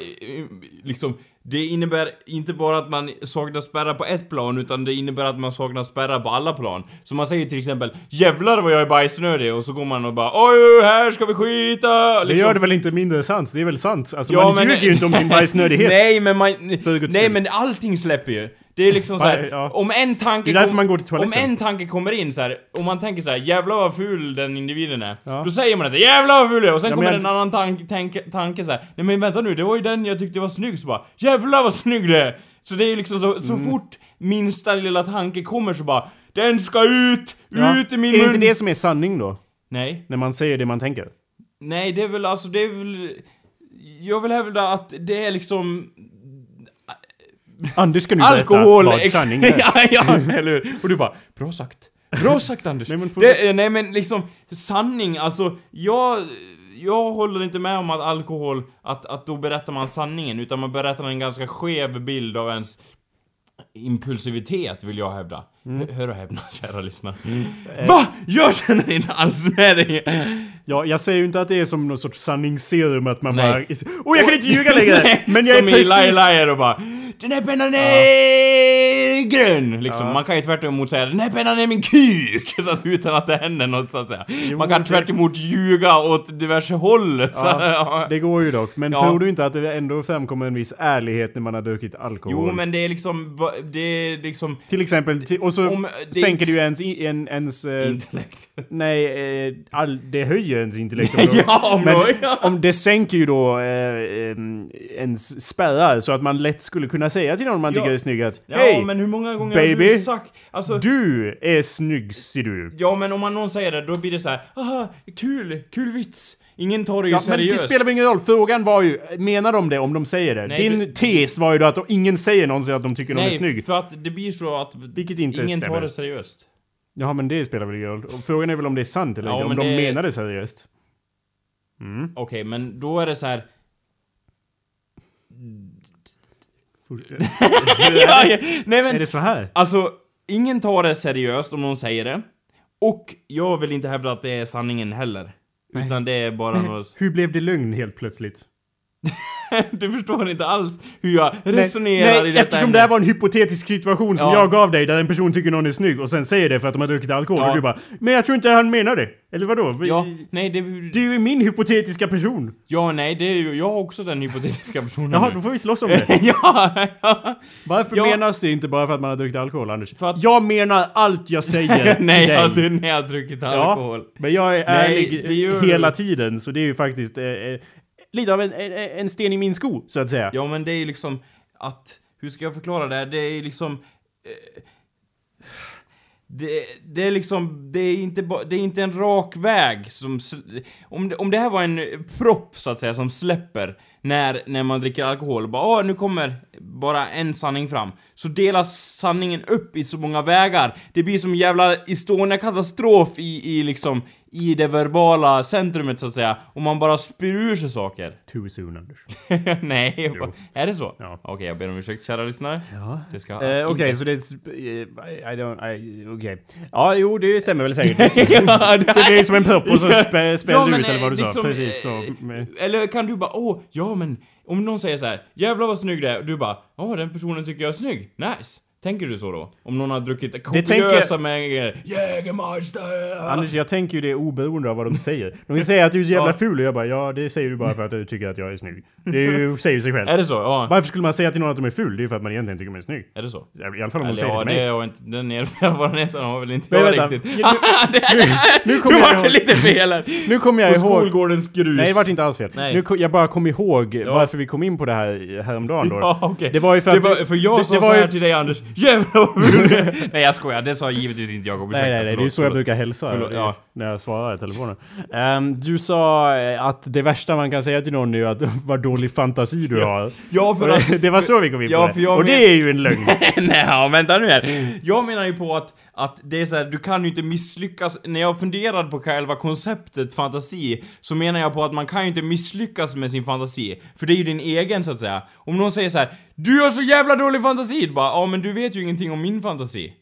S2: Liksom, det innebär inte bara att man saknar spärrar på ett plan, utan det innebär att man saknar spärrar på alla plan. Så man säger till exempel 'Jävlar vad jag är bajsnödig' och så går man och bara 'Oj, här ska vi skita!'
S1: Det
S2: Liksom.
S1: gör det väl inte mindre sant? Det är väl sant? Alltså
S2: Ja,
S1: man
S2: men-
S1: ljuger ju inte om
S2: *laughs*
S1: sin bajsnödighet.
S2: Nej, men man...
S1: För guds
S2: Nej,
S1: skull.
S2: men allting släpper ju. Det är liksom
S1: Nej,
S2: såhär,
S1: ja.
S2: om en tanke...
S1: Det är därför
S2: kom-
S1: man går till toaletten.
S2: Om en tanke kommer in så här, om man tänker så här, 'Jävlar vad ful den individen är'
S1: Ja.
S2: Då säger man att 'Jävlar vad ful jag är' och sen
S1: Ja,
S2: kommer
S1: men-
S2: en annan tank, tank, tanke så här, 'Nej men vänta nu, det var ju den jag tyckte var snygg' så bara 'Jävlar vad snygg det är' Så det är ju liksom så, så
S1: Mm.
S2: fort minsta lilla tanke kommer så bara 'Den ska ut!
S1: Ja.
S2: Ut i min
S1: är det
S2: mun!'
S1: inte det som är sanning då?
S2: Nej.
S1: När man säger det man tänker?
S2: Nej, det är väl alltså, det är väl... Jag vill hävda att det är liksom
S1: Anders ska nu
S2: Alkohol,
S1: berätta vad
S2: ex- *laughs*
S1: sanning är.
S2: ja, ja, eller hur? Och du bara, bra sagt. Bra sagt Anders.
S1: Nej, men fortsätt.
S2: det, eh, nej men liksom, sanning, alltså jag... Jag håller inte med om att alkohol, att, att då berättar man sanningen, utan man berättar en ganska skev bild av ens impulsivitet, vill jag hävda.
S1: Mm.
S2: Hör- Hör och häpna, *laughs* kära lyssnare. Va? Jag känner inte alls med dig!
S1: Ja, jag säger ju inte att det är som någon sorts sanningsserum att man
S2: Nej.
S1: bara... Åh, jag kan inte ljuga längre!
S2: *laughs* Nej,
S1: Men jag är
S2: Som i Liar
S1: precis...
S2: Liar och bara Den här pennan är grön! Liksom.
S1: Ja.
S2: Man kan ju tvärt emot säga Den här pennan är min kuk! *laughs* Så att, utan att det händer något så att säga. Man kan
S1: det-
S2: tvärt emot ljuga åt diverse håll. *laughs* Så,
S1: Ja,
S2: ja.
S1: det går ju dock. Men
S2: Ja.
S1: tror du inte att det ändå framkommer en viss ärlighet när man har druckit alkohol?
S2: Jo men det är liksom, va- det är liksom
S1: Till exempel, ti- och så
S2: Om det-
S1: sänker det ju ens... i- En, ens eh,
S2: intellekt. *laughs*
S1: nej, eh, all, det höjer ens intellekt. om då-
S2: ja, om
S1: Men
S2: då, ja.
S1: om det sänker ju då eh, em, ens spärrar så att man lätt skulle kunna säga till någon man
S2: Ja.
S1: tycker är snygg att
S2: ja,
S1: Hej!
S2: men hur många gånger har
S1: baby.
S2: du sagt... Alltså,
S1: Du är snygg ser du.
S2: Ja men om man någon säger det, då blir det så här, aha, kul, kul vits. Ingen tar det ju
S1: Ja, men det
S2: seriöst.
S1: spelar väl ingen roll, frågan var ju, menar de det om de säger det?
S2: Nej,
S1: Din
S2: det-
S1: tes var ju då att ingen säger någonsin att de tycker någon är
S2: Nej,
S1: snygg.
S2: för att det blir så att
S1: Vilket inte
S2: ingen
S1: stämmer.
S2: tar det seriöst.
S1: Jaha men det spelar väl ingen roll. Och Frågan är väl om det är sant eller
S2: Ja,
S1: inte, om
S2: men
S1: de
S2: det-
S1: menar det
S2: *laughs*
S1: seriöst.
S2: Okej, men då är
S1: *laughs*
S2: det så här. ja, ja, nej
S1: är
S2: men,
S1: det så här?
S2: alltså, ingen tar det seriöst om någon säger det. Och jag vill inte hävda att det är sanningen heller. Utan det är bara något... *laughs*
S1: Hur blev det lögn helt plötsligt?
S2: du förstår inte alls hur jag resonerar
S1: nej,
S2: i detta
S1: eftersom
S2: ämne.
S1: det här var en hypotetisk situation som
S2: Ja.
S1: jag gav dig där en person tycker någon är snygg och sen säger det för att de har druckit alkohol
S2: Ja.
S1: och du bara Men jag tror inte han menar det. Eller vadå? Vi-
S2: Ja, Mm. nej det...
S1: Du är min hypotetiska person.
S2: Ja, nej det är ju... Jag har också
S1: *laughs*
S2: den hypotetiska personen
S1: Jaha,
S2: nu.
S1: då får vi slåss om det.
S2: *laughs* ja, ja.
S1: Varför
S2: Ja.
S1: menas det inte bara för att man har druckit alkohol, Anders?
S2: För att-
S1: Jag menar allt jag säger till
S2: *laughs* *laughs* Nej,
S1: dig.
S2: jag, nej, jag har druckit alkohol.
S1: Ja, men jag är ärlig
S2: det gör-
S1: hela tiden, så det är ju faktiskt eh, eh, lite av en, en, en sten i min sko, så att säga.
S2: Ja men det är ju liksom att, hur ska jag förklara det? här? Det är ju liksom... eh, Det, det är liksom, det är inte ba, det är inte en rak väg som... sl- Om det, om det här var en propp så att säga som släpper när, när man dricker alkohol och bara åh nu kommer bara en sanning fram. Så delas sanningen upp i så många vägar. Det blir som en jävla Estonia-katastrof i, i liksom, i det verbala centrumet så att säga. Och man bara spyr ur sig saker.
S1: Too soon, Anders.
S2: *laughs* Nej, jag bara, är det så?
S1: Ja.
S2: Okej, jag ber om ursäkt kära lyssnare.
S1: Ja.
S2: Det ska
S1: Eh, Okej, så det... är sp- eh, I don't... I, Okej. Ja, jo, det stämmer väl
S2: *laughs*
S1: säkert. Det
S2: *laughs* ja,
S1: blir ju som en propp och
S2: *laughs*
S1: så spä,
S2: Ja,
S1: späller du
S2: men,
S1: ut eller vad du
S2: eh,
S1: sa.
S2: liksom,
S1: Precis så.
S2: eh, Eller kan du bara, åh, ja men om någon säger så här, jävlar vad snygg det är, och du bara, åh den personen tycker jag är snygg, nice. Tänker du så då? Om någon har druckit kopiösa
S1: tänker-
S2: mängder Jägermeister!
S1: Anders, jag tänker ju det oberoende av vad de säger. De kan säga att du är så jävla
S2: Ja.
S1: ful och jag bara ja, det säger du bara för att du tycker att jag är snygg. Det är ju, säger ju sig själv.
S2: Är det så? Ja.
S1: Varför skulle man säga till någon att de är ful? Det är ju för att man egentligen tycker man är snygg.
S2: Är det så?
S1: I alla fall om de
S2: Eller
S1: säger det
S2: ja,
S1: till
S2: det
S1: mig.
S2: har *laughs* jag inte, den erfarenheten har väl inte
S1: Men
S2: jag
S1: vänta,
S2: riktigt. *laughs*
S1: nu- nu- nu kommer
S2: Nu
S1: jag
S2: vart det
S1: ihåg-
S2: lite fel här!
S1: Nu kommer jag
S2: På
S1: ihåg...
S2: skolgårdens grus.
S1: Nej, det vart inte alls fel.
S2: Nej.
S1: Nu, ko- jag bara kom ihåg varför vi kom in på det här häromdagen då.
S2: Ja, okej.
S1: Det var ju för
S2: det
S1: att...
S2: var, för jag
S1: det,
S2: sa
S1: det
S2: så
S1: var
S2: här
S1: ju,
S2: till dig Anders, Jävlar
S1: *laughs*
S2: vad brun Nej jag skojar, det sa givetvis inte jag.
S1: Nej, nej, nej, det är så jag brukar hälsa
S2: Förlåt, ja.
S1: när jag svarar i telefonen. Ehm, du sa eh, att det värsta man kan säga till någon är ju att *laughs* vad dålig fantasi du har.
S2: Ja, *laughs* för
S1: *laughs*
S2: att...
S1: det var så vi kom in på
S2: Ja, för
S1: det.
S2: jag
S1: Och
S2: men-
S1: det är ju en lögn.
S2: *laughs* Nej, ja, vänta nu här. Jag menar ju på att, att det är så här, du kan ju inte misslyckas. När jag funderade på själva konceptet fantasi, så menar jag på att man kan ju inte misslyckas med sin fantasi. För det är ju din egen så att säga. Om någon säger så här, du har så jävla dålig fantasi! Bara, ja men du vet ju ingenting om min fantasi.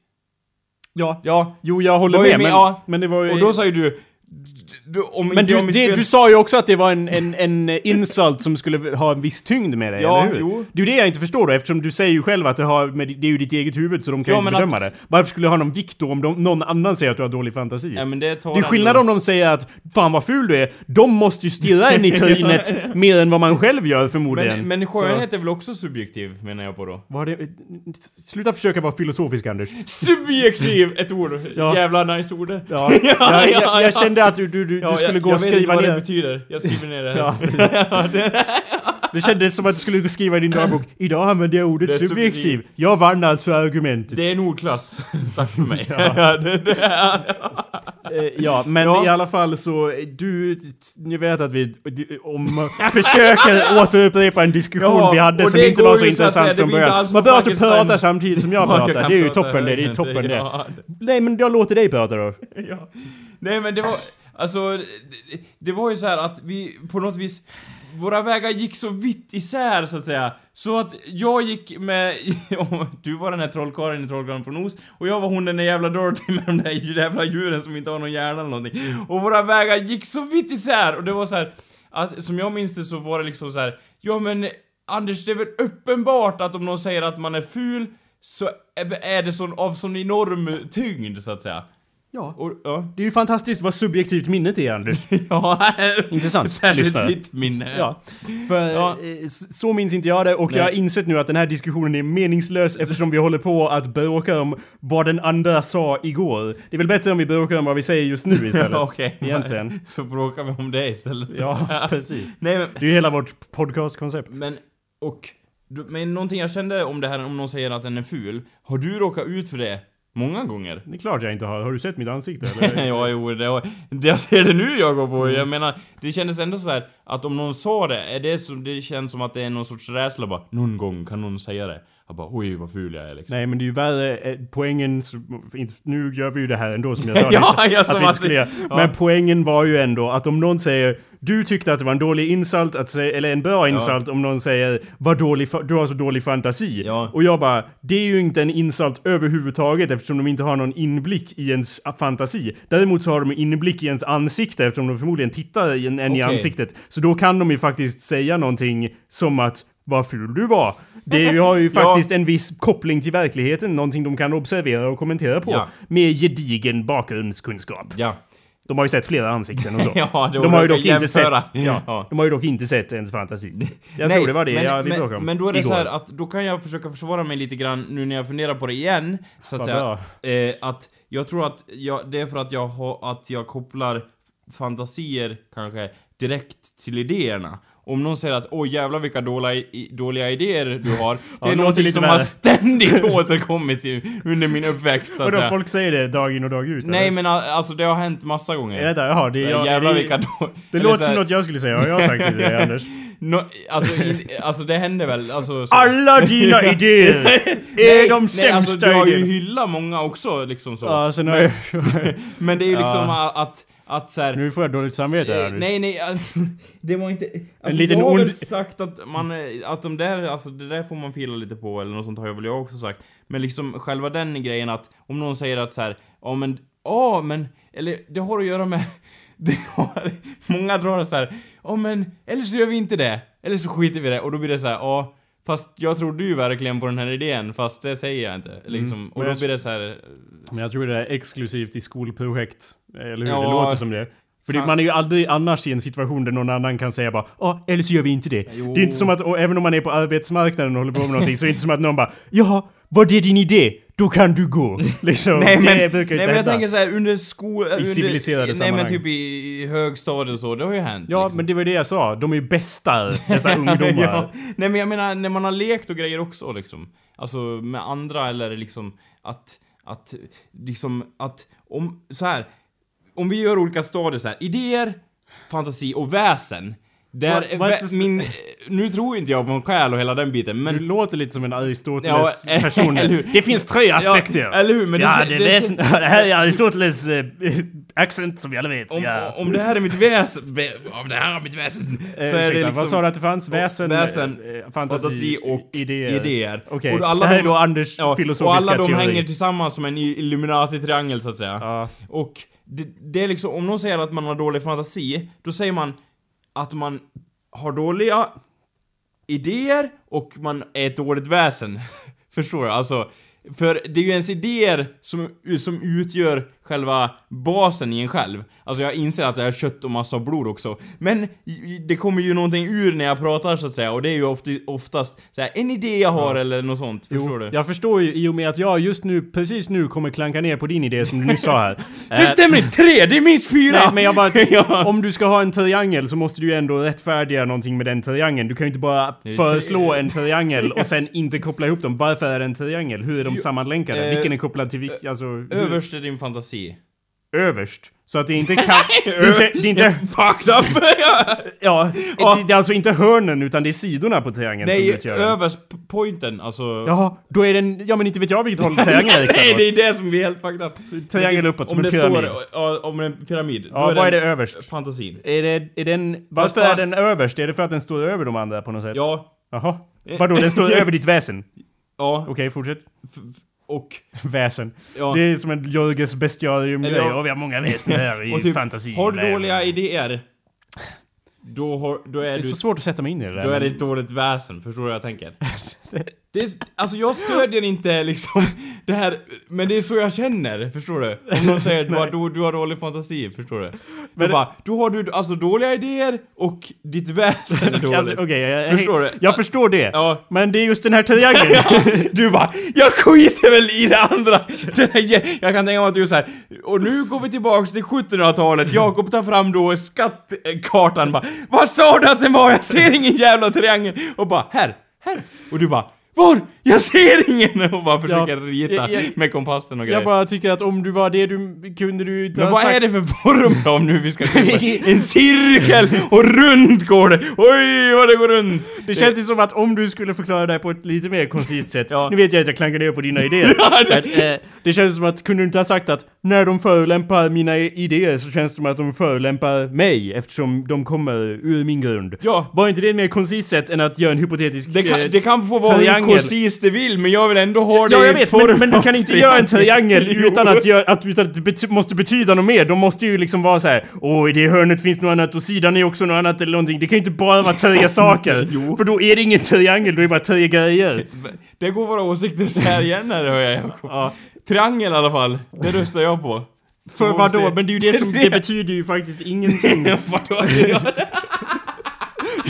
S1: Ja.
S2: *laughs* Ja.
S1: Jo, jag håller
S2: Var ju
S1: med.
S2: med,
S1: men,
S2: ja.
S1: men det var ju...
S2: Och då sa ju du, du om
S1: men
S2: inte
S1: du,
S2: jag
S1: det,
S2: misslyckas-
S1: du sa ju också att det var en, en, en insult som skulle ha en viss tyngd med dig,
S2: Ja,
S1: eller hur?
S2: jo.
S1: Det är ju det jag inte förstår då, eftersom du säger ju själv att det, har, med, det är ju ditt eget huvud så de kan ju
S2: Ja,
S1: inte
S2: men att-
S1: bedöma det. Varför skulle det ha någon vikt då om de, någon annan säger att du har dålig fantasi?
S2: Ja, men det, tar
S1: Det är skillnad om de säger att 'Fan vad ful du är' De måste ju stirra
S2: *laughs*
S1: en i trynet mer än vad man själv gör förmodligen.
S2: Men, men
S1: Så-
S2: skönhet är väl också subjektiv, menar jag på då.
S1: Vad har det, sluta försöka vara filosofisk
S2: *laughs*
S1: Anders.
S2: Subjektiv! Ett ord.
S1: Ja.
S2: Jävla nice ord. *laughs*
S1: Ja, jag, jag, jag kände att du, du, du, du
S2: Ja,
S1: skulle
S2: jag,
S1: gå
S2: jag
S1: och
S2: vet inte
S1: skriva
S2: vad
S1: ner...
S2: det betyder. Jag skriver ner det här.
S1: *laughs* Ja, det kändes som att du skulle skriva i din dagbok Idag använde jag ordet
S2: Det är
S1: subjektiv.
S2: subjektiv.
S1: Jag vann alltså argumentet.
S2: Det är en ordklass. *laughs* Tack för mig. *laughs* ja. det, det,
S1: Eh, ja, men
S2: Ja.
S1: i alla fall så, eh, du, ni vet att vi d- om man försöker återupprepa en diskussion
S2: Ja,
S1: vi hade
S2: och
S1: som
S2: det
S1: inte
S2: går
S1: var
S2: ju
S1: så
S2: så att säga,
S1: intressant
S2: det
S1: från
S2: blir inte
S1: början.
S2: alls
S1: Man
S2: som
S1: behöver inte
S2: Frankenstein.
S1: prata samtidigt som jag
S2: Ja, jag
S1: pratar,
S2: kan
S1: det är ju
S2: prata,
S1: toppen det, det är ju
S2: men
S1: toppen
S2: det-
S1: det.
S2: ja,
S1: Nej men jag låter dig prata då.
S2: *laughs* ja. Nej men det var... Alltså, det, det var ju så här att vi på något vis... Våra vägar gick så vitt isär så att säga. Så att jag gick med... *laughs* Du var den här trollkarlen i Trollkarlen på nos och jag var hon den där jävla Dorothy med de där *laughs* jävla djuren som inte har någon hjärna eller någonting. Och våra vägar gick så vitt isär och det var så här... Att, som jag minns det så var det liksom så här... Ja men Anders, det är väl uppenbart att om någon säger att man är ful så är- är det sån, av sån enorm tyngd så att säga.
S1: Ja.
S2: Och, ja.
S1: Det är ju fantastiskt vad subjektivt minnet är Anders.
S2: Ja,
S1: Intressant.
S2: Särskilt
S1: Lyssnare.
S2: ditt minne.
S1: Ja, för
S2: Ja.
S1: eh, s- så minns inte jag det och jag har insett nu att den här diskussionen är meningslös eftersom vi håller på att bråka om vad den andra sa igår. Det är väl bättre om vi bråkar om vad vi säger just nu istället.
S2: *laughs* Okej.
S1: Egentligen.
S2: Så bråkar vi om det istället. *laughs*
S1: Ja, precis.
S2: Nej men,
S1: Det är ju hela vårt podcastkoncept.
S2: men och, du- men någonting jag kände om det här om någon säger att den är ful. Har du råkat ut för det?
S1: *laughs*
S2: Många gånger?
S1: Det är klart jag inte har. Har du sett mitt ansikte eller?
S2: ja, jo, det har, det jag ser det nu jag går på.
S1: Mm.
S2: Jag menar, det kändes ändå så här att om någon sa det, är det, som, det känns som att det är någon sorts rädsla bara, någon gång kan någon säga det. Jag bara, oj vad ful jag är liksom.
S1: Nej men det är ju värre, eh, poängen, så- inte- nu gör vi ju det här ändå som
S2: *laughs*
S1: jag sa
S2: Ja,
S1: nyss,
S2: ja,
S1: att
S2: som
S1: vi inte
S2: att
S1: skulle
S2: vi-
S1: göra.
S2: ja.
S1: Men poängen var ju ändå att om någon säger du tyckte att det var en dålig insult, att säga, eller en bra insult om någon säger vad dålig, fa- du har så dålig fantasi.
S2: Ja.
S1: Och jag bara, det är ju inte en insult överhuvudtaget eftersom de inte har någon inblick i ens fantasi. Däremot så har de inblick i ens ansikte eftersom de förmodligen tittar i en, en i
S2: Okej.
S1: ansiktet. Så då kan de ju faktiskt säga någonting som att vad ful du var. Det har ju
S2: Ja.
S1: faktiskt en viss koppling till verkligheten, någonting de kan observera och kommentera på.
S2: Ja.
S1: Med gedigen bakgrundskunskap.
S2: Ja.
S1: De har ju sett flera ansikten och så.
S2: *laughs* Ja, det
S1: de, har ju
S2: orkar
S1: dock inte sett,
S2: jämföra.
S1: ja,
S2: Ja.
S1: de har ju dock inte sett ens fantasi. *laughs* Jag tror det var det
S2: men,
S1: jag vi
S2: men,
S1: pratade om
S2: men då är det
S1: igår.
S2: så här att då kan jag försöka försvara mig lite grann nu när jag funderar på det igen. Så att
S1: Vad
S2: säga. Eh, att jag tror att jag, det är för att jag, har- att jag kopplar fantasier kanske direkt till idéerna. Om någon säger att åh jävlar vilka dåliga, i- dåliga idéer du
S1: *laughs*
S2: har. Det
S1: det
S2: är
S1: låter
S2: någonting
S1: lite
S2: som
S1: värre. *laughs*
S2: har ständigt återkommit i, under min uppväxt så att
S1: Vadå,
S2: säga.
S1: folk säger det dag in och dag ut?
S2: Nej
S1: eller?
S2: men a- alltså det har hänt massa gånger.
S1: Är det där? Jaha, det,
S2: Så
S1: är
S2: här,
S1: jag,
S2: jävlar
S1: det,
S2: vilka då...
S1: det låter som något jag skulle säga, har jag sagt det till
S2: *laughs*
S1: dig Anders?
S2: No, alltså, in, alltså det händer väl,
S1: *laughs*
S2: alltså... så-
S1: Alla dina
S2: *laughs*
S1: idéer är de
S2: nej, alltså,
S1: sämsta
S2: du har ju
S1: idéerna!
S2: hyllat många också liksom så.
S1: Ja, sen har jag,
S2: Men det är ju liksom
S1: Ja.
S2: a- att, att så
S1: *laughs*
S2: här,
S1: nu får jag dåligt samvete här
S2: eh,
S1: nu.
S2: Nej, nej, *laughs* alltså, det var inte... Alltså,
S1: liten
S2: jag har väl
S1: ond-
S2: sagt att man, eh, att de där, alltså det där får man fila lite på eller något sånt har jag väl jag också sagt. Men liksom själva den grejen att om någon säger att så här, ja men, ja men, eller det har att göra med, *laughs* det har, många drar så här, ja men, eller så gör vi inte det, eller så skiter vi i det och då blir det så här, ja Fast jag trodde ju verkligen på den här idén, fast det säger jag inte. Liksom.
S1: Mm.
S2: Och
S1: Men
S2: då
S1: jag-
S2: blir det så här...
S1: Men jag tror det är exklusivt i skolprojekt. Eller hur? Det
S2: Ja.
S1: låter som det. För det,
S2: Ja.
S1: man är ju aldrig annars i en situation där någon annan kan säga bara ja, eller så gör vi inte det.
S2: Jo.
S1: Det är inte som att, och även om man är på arbetsmarknaden och håller på med någonting, så är det inte som att någon bara ja, vad är din idé? då kan du
S2: *laughs*
S1: gå. Liksom,
S2: Nej men,
S1: det
S2: nej,
S1: brukar ju inte
S2: men jag
S1: hända.
S2: tänker såhär under skolan... under,
S1: civiliserade
S2: nej,
S1: sammanhang.
S2: men typ i högstadiet och så, det har ju hänt.
S1: Ja,
S2: liksom.
S1: men det var ju det jag sa. De är ju bästa, dessa
S2: *laughs*
S1: ungdomar.
S2: ja. Nej men jag menar när man har lekt och grejer också liksom. Alltså med andra eller liksom att, att, liksom att, om, så här. Om vi gör olika stadier så här, idéer, fantasi och väsen.
S1: Va-
S2: Där,
S1: va-
S2: vä- min, nu tror inte jag på en själ och hela den biten men
S1: Du låter lite som en Aristoteles
S2: *laughs* Ja, eh,
S1: person.
S2: eller hur?
S1: Det finns tre aspekter.
S2: Ja, eller hur? Men det
S1: ja,
S2: kän-
S1: det,
S2: det
S1: väsen, *laughs* det
S2: kän-
S1: här är Aristoteles eh, *laughs* accent som vi alla vet.
S2: Om,
S1: ja.
S2: om det här är mitt väsen, om det här är mitt väsen, så
S1: Eh,
S2: är det
S1: ursäkta,
S2: liksom...
S1: Vad sa du att det fanns? Väsen,
S2: väsen,
S1: eh, fantasi,
S2: fantasi och
S1: idéer.
S2: idéer.
S1: Okej,
S2: Och då alla
S1: det här är
S2: de-
S1: då Anders
S2: Ja,
S1: filosofiska
S2: och alla de
S1: teori.
S2: hänger tillsammans som en i- Illuminati-triangel så att säga.
S1: Ja.
S2: Och det, det är liksom, om någon säger att man har dålig fantasi, då säger man att man har dåliga idéer och man är ett dåligt väsen. *laughs* Förstår du? Alltså, för det är ju ens idéer som, som utgör själva basen i en själv. Alltså jag inser att jag har kött och massa blod också. Men i- i- det kommer ju någonting ur när jag pratar så att säga och det är ju ofta, oftast så här, en idé jag har eller något sånt. Förstår du?
S1: Jag förstår ju i och med att jag just nu, precis nu kommer klanka ner på din idé som du nyss sa
S2: *laughs*
S1: här. Eh,
S2: Det stämmer inte! Tre! Det är minst fyra!
S1: Nej men jag bara,
S2: *laughs* Ja.
S1: om du ska ha en triangel så måste du ju ändå rättfärdiga någonting med den triangeln. Du kan ju inte bara
S2: är
S1: föreslå en
S2: *laughs*
S1: triangel och sen inte koppla ihop dem. Varför är det en triangel? Hur är de
S2: Jo,
S1: sammanlänkade?
S2: eh,
S1: Vilken är kopplad till vilken? Alltså, hur-
S2: Överst är din fantasi.
S1: överst. Så att det
S2: *laughs*
S1: inte kan... det är inte, det är inte *laughs*
S2: Fucked up!
S1: ja,
S2: Ja.
S1: det- det är alltså inte hörnen utan det är sidorna på triangeln som
S2: Nej,
S1: utgör den.
S2: överst p- pointen, alltså...
S1: Jaha, då är den... Ja men inte vet jag vilket håll triangeln riktar
S2: Nej,
S1: åt.
S2: det är det som är helt fucked up.
S1: triangel uppåt, som en
S2: det
S1: pyramid.
S2: Står, ja, om en pyramid.
S1: Ja, vad är det överst?
S2: Fantasin.
S1: Är det, är den, varför
S2: Fast
S1: är
S2: fan-
S1: den överst? Är det för att den står över de andra på något sätt?
S2: Ja,
S1: Jaha. Vadå, den
S2: *laughs*
S1: står över ditt väsen? Okej,
S2: ja,
S1: fortsätt. *laughs*
S2: och...
S1: Väsen.
S2: Ja.
S1: Det är som en Jörges bestiarium
S2: Eller
S1: grej.
S2: ja.
S1: Ja, vi har många väsen här i
S2: *laughs* och typ,
S1: fantasin.
S2: har du
S1: Nej,
S2: dåliga
S1: men-
S2: idéer, då, har, då är
S1: Det är
S2: du...
S1: så svårt att sätta mig in i det där.
S2: Då är det
S1: men-
S2: ett dåligt väsen, förstår du vad
S1: *laughs*
S2: jag tänker? Det är, s- alltså jag stödjer inte liksom det här, men det är så jag känner, förstår du? Om någon säger du har, du, du har dålig fantasi, förstår du? Då
S1: Men-
S2: bara, då har du alltså dåliga idéer och ditt väsen är dåligt.
S1: *laughs* Alltså, Okej, jag, jag,
S2: Förstår du?
S1: jag, förstår det.
S2: Ja.
S1: Men det är just den här
S2: *laughs*
S1: triangeln.
S2: Du bara, jag skiter väl i det andra! Den här, jä- jag kan tänka mig att du är såhär, och nu går vi tillbaks till 1700-talet, Jakob tar fram då skattkartan bara, Vad sa du att den var? Jag ser ingen jävla triangel! Och bara, här, här! Och du bara, var? Jag ser ingen! Och bara försöker rita
S1: jag- jag-
S2: med kompassen och grejer.
S1: jag bara tycker att om du var det du kunde du inte
S2: Men
S1: ha
S2: vad
S1: sagt...
S2: är det för form då om nu vi ska
S1: *laughs*
S2: En cirkel! Och runt går det! Oj vad det går runt!
S1: Det känns ju som att om du skulle förklara det här på ett lite mer koncist
S2: *laughs*
S1: sätt. Nu vet jag att jag klankar ner på dina idéer. men, eh, det känns som att, kunde du inte ha sagt att när de förolämpar mina i- idéer så känns det som att de förolämpar mig eftersom de kommer ur min grund.
S2: Ja.
S1: Var inte det ett mer koncist sätt än att göra en hypotetisk...
S2: Det kan,
S1: eh,
S2: det kan få vara hur
S1: triangel.
S2: koncist det vill, men jag vill ändå ha det
S1: Ja,
S2: i
S1: jag vet,
S2: form
S1: men, men du kan
S2: *laughs*
S1: inte göra en triangel
S2: Jo.
S1: utan att, göra, att, utan att det bety- måste betyda något mer. De måste ju liksom vara så här: åh, i det hörnet finns något annat och sidan är också något annat eller någonting. Det kan ju inte bara vara
S2: *laughs*
S1: tre saker.
S2: Jo.
S1: För då är det ingen triangel, då är det bara tre grejer.
S2: Det går våra åsikter isär igen här hör jag Jakob.
S1: Ja.
S2: Triangel i alla fall, det röstar jag på.
S1: För
S2: Så får vi
S1: vadå?
S2: se.
S1: Men det är ju det som,
S2: *laughs*
S1: det betyder ju faktiskt ingenting.
S2: Vadå?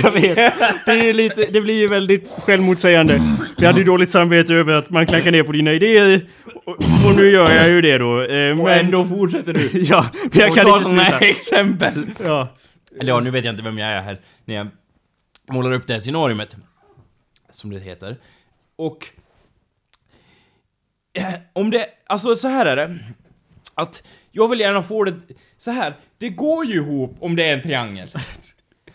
S1: Jag vet. Det, är ju lite, det blir ju väldigt självmotsägande. Vi hade ju dåligt samvete över att man klankar ner på dina idéer. Och, och nu gör jag ju det då. Eh, *laughs*
S2: Och
S1: Men,
S2: ändå fortsätter *laughs* du.
S1: *laughs* ja, men jag
S2: Och
S1: kan
S2: tar
S1: inte
S2: såna
S1: sluta.
S2: *laughs* här exempel.
S1: Ja.
S2: Eller ja, nu vet jag inte vem jag är här när jag målar upp det här scenariumet. Som det heter. Och... Eh, Om det... Alltså så här är det. Att jag vill gärna få det... Så här, det går ju ihop om det är en
S1: *laughs*
S2: triangel.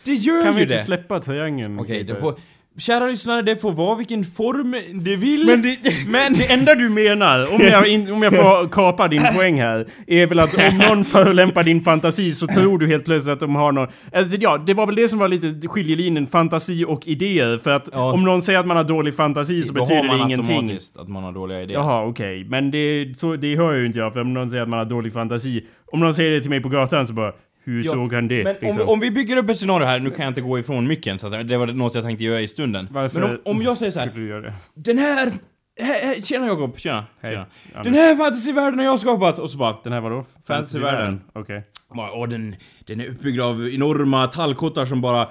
S2: Det gör
S1: Kan vi
S2: ju
S1: inte
S2: det.
S1: släppa triangeln?
S2: Okej, det
S1: Peter?
S2: får... Kära lyssnare, det får vara vilken form det vill.
S1: Men det, det,
S2: *laughs* Men-
S1: det enda du menar, om
S2: *laughs*
S1: jag, in, om jag får kapa din poäng här, är väl att om någon förolämpar din fantasi så tror du helt plötsligt att de har någon... Alltså, ja, det var väl det som var lite skiljelinjen, fantasi och idéer. För att
S2: Ja.
S1: om någon säger att man har dålig fantasi så
S2: Då
S1: betyder
S2: har man
S1: det ingenting.
S2: automatiskt att man har dåliga idéer.
S1: Jaha, okej. Men det, så, det hör ju inte jag, för om någon säger att man har dålig fantasi, om någon säger det till mig på gatan så bara hur
S2: Ja,
S1: såg han det? Liksom.
S2: Men om, om vi bygger upp ett scenario här, nu kan jag inte gå ifrån micken så att säga, det var något jag tänkte göra i stunden.
S1: Varför
S2: Men om, om jag säger så här,
S1: skulle du göra det?
S2: den här He- he- Tjena Jakob, tjena.
S1: Hej.
S2: tjena.
S1: Ja,
S2: Den här fantasyvärlden har jag skapat! Och så bara...
S1: Den här vadå?
S2: Fantasyvärlden.
S1: Okej.
S2: bara, Åh, den, den är uppbyggd av enorma tallkottar som bara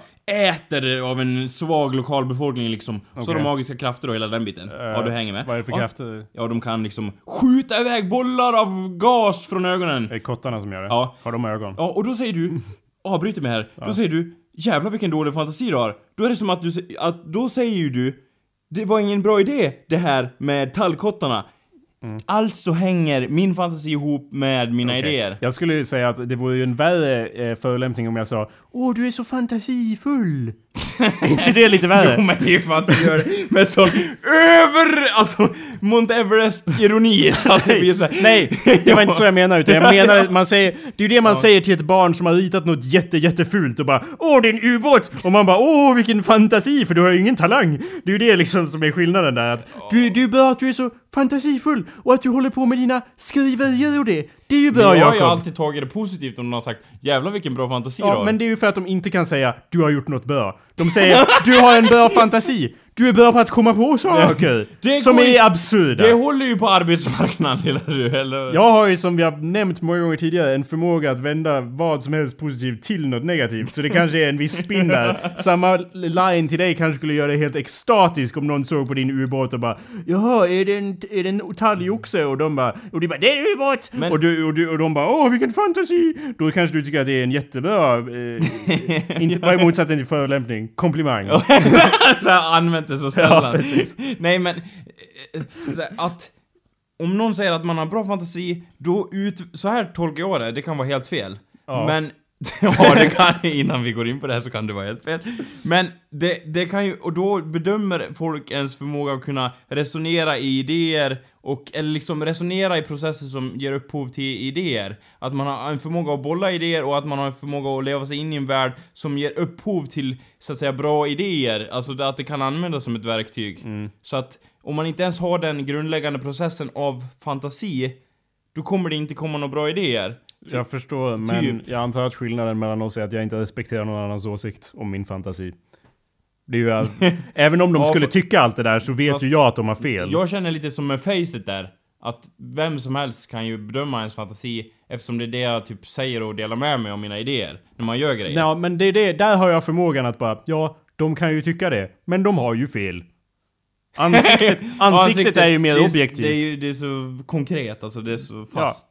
S2: äter av en svag lokalbefolkning liksom. Så
S1: Okej. Eh,
S2: har de magiska krafter och hela den biten. ja, du hänger med.
S1: Vad är det för
S2: ja.
S1: krafter?
S2: Ja, de kan liksom skjuta iväg bollar av gas från ögonen.
S1: Det är kottarna som gör det?
S2: Ja.
S1: Har de ögon?
S2: Ja, och då säger du...
S1: Mm.
S2: Avbryter mig här. Då säger du Jävlar vilken dålig fantasi du har. Då är det som att du... sä- Att, då säger ju du Det var ingen bra idé det här med tallkottarna. Alltså hänger min fantasi ihop med mina
S1: Mm. Okej.
S2: idéer.
S1: Jag skulle ju säga att det vore ju en värre eh, förolämpning om jag sa Åh, du är så
S2: *laughs*
S1: fantasifull. Är inte det lite värre?
S2: Jo men det är för att du gör det med sån över... Alltså Mount Everest-ironi så att det blir så här,
S1: Nej, det var inte
S2: *laughs*
S1: så jag menade. Utan jag menade, man säger, det är ju det man säger till ett barn som har ritat något jätte, jättefult och bara Åh, det är en ubåt! Och man bara Åh, vilken fantasi, för du har ju ingen talang. Det är ju det liksom som är skillnaden där. Att du, det är ju bra att du är så fantasifull och att du håller på med dina skriverier och det. Det är ju bra,
S2: Jag har ju
S1: Jakob.
S2: alltid tagit det positivt om någon har sagt Jävlar vilken bra fantasi du
S1: Ja,
S2: har.
S1: men det är ju för att de inte kan säga du har gjort något bra. De säger du har en bra fantasi. Du är bra på att komma på saker.
S2: Det
S1: som
S2: går ju-
S1: är absurda.
S2: det håller ju på arbetsmarknaden lilla du, eller?
S1: Jag har ju som vi har nämnt många gånger tidigare en förmåga att vända vad som helst positivt till något negativt. Så det kanske är en viss spin där. Samma line till dig kanske skulle göra dig helt extatisk om någon såg på din ubåt och bara Jaha, är det en, är det en talgoxe? Och de bara Och du bara Det är en ubåt!
S2: Men-
S1: Och, du, och, du, och de bara Åh vilken fantasi! Då kanske du tycker att det är en jättebra... Eh, inte, vad är motsatsen till förolämpning? Komplimang.
S2: *laughs* så här, använt det så
S1: Ja,
S2: sällan.
S1: precis.
S2: Nej men, eh, så här, att om någon säger att man har bra fantasi, då ut... Så här tolkar jag det, det kan vara helt fel.
S1: Ja.
S2: Men, *laughs* ja det kan, innan vi går in på det här så kan det vara helt fel. Men det, det kan ju, och då bedömer folk ens förmåga att kunna resonera i idéer och, eller liksom resonera i processer som ger upphov till idéer. Att man har en förmåga att bolla idéer och att man har en förmåga att leva sig in i en värld som ger upphov till, så att säga, bra idéer. Alltså det- att det kan användas som ett verktyg. Så att om man inte ens har den grundläggande processen av fantasi, då kommer det inte komma några bra idéer.
S1: Jag förstår, men
S2: Typ.
S1: jag antar att skillnaden mellan oss är att jag inte respekterar någon annans åsikt om min fantasi. Det är ju,
S2: *laughs*
S1: all- även om de
S2: Ja,
S1: skulle
S2: fa-
S1: tycka allt det där så vet
S2: fast-
S1: ju jag att de har fel.
S2: Jag känner lite som med facet där. Att vem som helst kan ju bedöma ens fantasi eftersom det är det jag typ säger och delar med mig av mina idéer när man gör grejer.
S1: Ja, men det är det, där har jag förmågan att bara, ja, de kan ju tycka det, men de har ju fel.
S2: *laughs*
S1: Ansiktet, ansiktet är ju mer
S2: det så-
S1: objektivt.
S2: Det är ju det är så konkret, alltså det är så fast.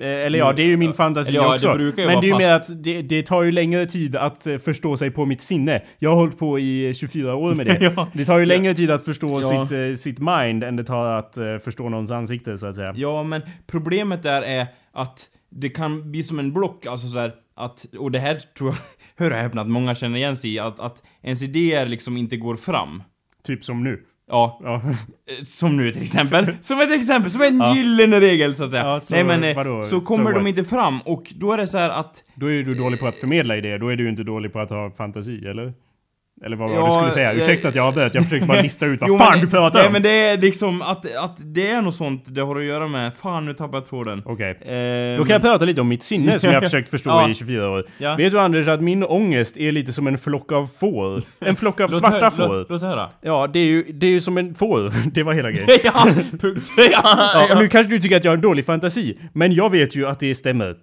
S1: Eh, Eller ja, det är ju min fantasi
S2: Eller ja, det
S1: också.
S2: brukar ju
S1: men
S2: vara
S1: det är ju mer att det, det tar ju längre tid att eh, förstå sig på mitt sinne. Jag har hållit på i eh, 24 år med det.
S2: *laughs* Ja.
S1: Det tar ju längre tid att förstå
S2: Ja.
S1: sitt, eh, sitt mind än det tar att eh, förstå någons ansikte så att säga.
S2: Ja, men problemet där är att det kan bli som en block, alltså så här, att, och det här tror jag, *laughs* hör och häpna, att många känner igen sig i, att, att ens idéer liksom inte går fram.
S1: Typ som nu.
S2: Ja,
S1: Ja. *laughs*
S2: eh, som nu till exempel. Som ett exempel, som en gyllene regel så att säga.
S1: Ja, så
S2: Nej men, eh,
S1: vadå?
S2: så
S1: So
S2: kommer de
S1: what?
S2: inte fram och då är det så här att...
S1: Då är ju du dålig på att förmedla idéer, då är du ju inte dålig på att ha fantasi, eller? Eller vad var
S2: Ja,
S1: du skulle säga?
S2: jag-
S1: Ursäkta att jag avbröt, jag försöker bara lista ut vad
S2: Jo,
S1: fan
S2: men,
S1: du pratar
S2: Nej
S1: om!
S2: men det är liksom att, att det är något sånt det har att göra med. Fan nu tappade jag tråden.
S1: Okej.
S2: Ehm,
S1: Då kan jag prata lite om mitt sinne *laughs* som jag har försökt förstå
S2: Ja.
S1: i 24 år.
S2: Ja.
S1: Vet du Anders att min ångest är lite som en flock av får? En flock av
S2: låt
S1: svarta
S2: hö-
S1: får.
S2: Låt,
S1: *laughs*
S2: låt höra.
S1: Ja, det är ju, det är ju som en får. *laughs* Det var hela grejen.
S2: ja, punkt. ja,
S1: Ja, nu kanske du tycker att jag har en dålig fantasi, men jag vet ju att det stämmer.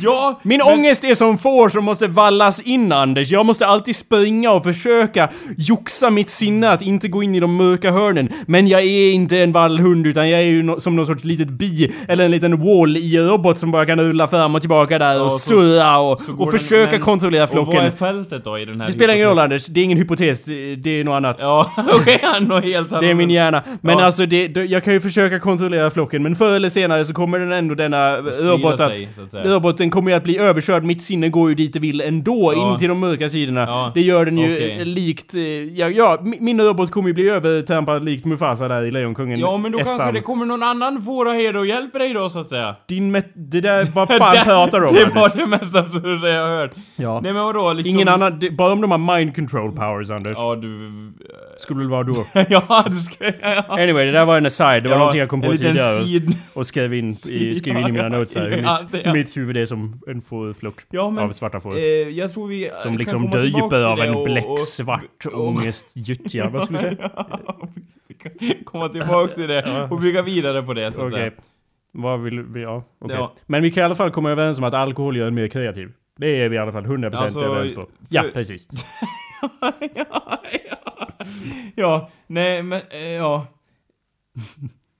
S2: ja,
S1: Min ångest är som får som måste vallas in Anders. Jag måste alltid springa och försöka joxa mitt sinne att inte gå in i de mörka hörnen. Men jag är inte en vallhund utan jag är ju nå- som någon sorts litet bi eller en liten wall-e-robot som bara kan rulla fram och tillbaka där och
S2: så-
S1: surra och,
S2: så går
S1: och
S2: den-
S1: försöka
S2: men-
S1: kontrollera
S2: Och vad är
S1: flocken.
S2: fältet då i den här
S1: Det spelar ingen roll
S2: hypotesen?
S1: Anders, det är ingen hypotes, det, det är något annat.
S2: Ja, *laughs* okej, okay, något helt annat.
S1: Det är min hjärna. Men
S2: Ja.
S1: alltså, det, det- jag kan ju försöka kontrollera flocken, men förr eller senare så kommer den ändå denna robot att...
S2: sig, så att säga.
S1: roboten kommer ju att bli överkörd, mitt sinne går ju dit det vill ändå,
S2: Ja.
S1: in till de mörka sidorna.
S2: Ja.
S1: Det gör den ju
S2: Okej.
S1: eh, likt... eh, Ja, ja, mi- min robot kommer ju bli övertrampad likt Mufasa där i Lejonkungen
S2: Ja, men då
S1: ettan.
S2: kanske det kommer någon annan fåraherde och hjälper dig då, så att säga.
S1: Din met... Det
S2: *laughs*
S1: där, vad fan
S2: Det-
S1: pratar du om?
S2: Det
S1: Anders?
S2: var det mest absurda jag har hört.
S1: Ja.
S2: Nej men vadå, liksom...
S1: Ingen annan... det- Bara om de har mind control powers, Anders.
S2: *laughs* Ja, du... eh,
S1: *laughs* Skulle det vara då?
S2: ja, det ska jag...
S1: Anyway, det där var en aside. Det var någonting jag kom på
S2: en liten
S1: tidigare.
S2: sid...
S1: och skrev in i, skrev in i mina notes här hur
S2: *laughs* Ja,
S1: mitt,
S2: det-
S1: hur mitt huvud är som som en fårflock
S2: Ja, men-
S1: av svarta får.
S2: Eh, jag tror vi... eh,
S1: som
S2: kan
S1: liksom
S2: komma tillbaka
S1: döper
S2: till
S1: av
S2: det
S1: en
S2: och-
S1: bläcksvart
S2: och- och-
S1: ångestgyttja. Vad skulle du
S2: *laughs*
S1: säga?
S2: och- Vi kan komma tillbaka till det och bygga vidare på det så att
S1: Okej.
S2: säga. *laughs*
S1: Vad vill vi? Ja, okej.
S2: Ja.
S1: Men vi kan i alla fall komma överens om att alkohol gör en mer kreativ. Det är vi i alla fall 100%
S2: Alltså,
S1: överens på. Ja,
S2: för-
S1: precis.
S2: ja, ja. ja, nej men, eh, ja.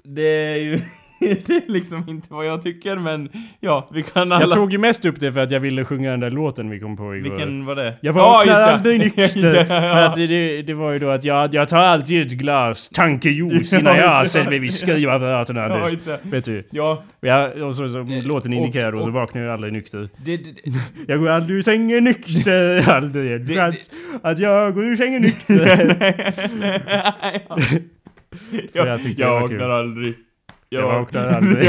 S2: Det är ju... *laughs* Det är liksom inte vad jag tycker men ja, vi kan alla...
S1: Jag tog ju mest upp det för att jag ville sjunga den där låten vi kom på igår.
S2: Vilken var det?
S1: Jag
S2: Ja,
S1: vaknar
S2: just det.
S1: aldrig nykter.
S2: *laughs* Ja.
S1: För att det, det var ju då att jag, jag tar alltid ett glas tankejuice innan
S2: *laughs* Ja,
S1: jag
S2: just det.
S1: sätter mig vid skrivapparaten
S2: Ja,
S1: Anders.
S2: just det.
S1: Vet du?
S2: Ja,
S1: Jag, och så, som
S2: Eh,
S1: låten
S2: och-
S1: indikerar då så
S2: och-
S1: vaknar jag aldrig nykter.
S2: det, det,
S1: *laughs*
S2: *laughs* det-
S1: Jag går aldrig ur sängen
S2: *laughs*
S1: nykter. Aldrig en
S2: Det-
S1: chans att jag går ur sängen
S2: *laughs*
S1: nykter. För jag tyckte det var kul.
S2: vaknar aldrig.
S1: Jag vaknar aldrig.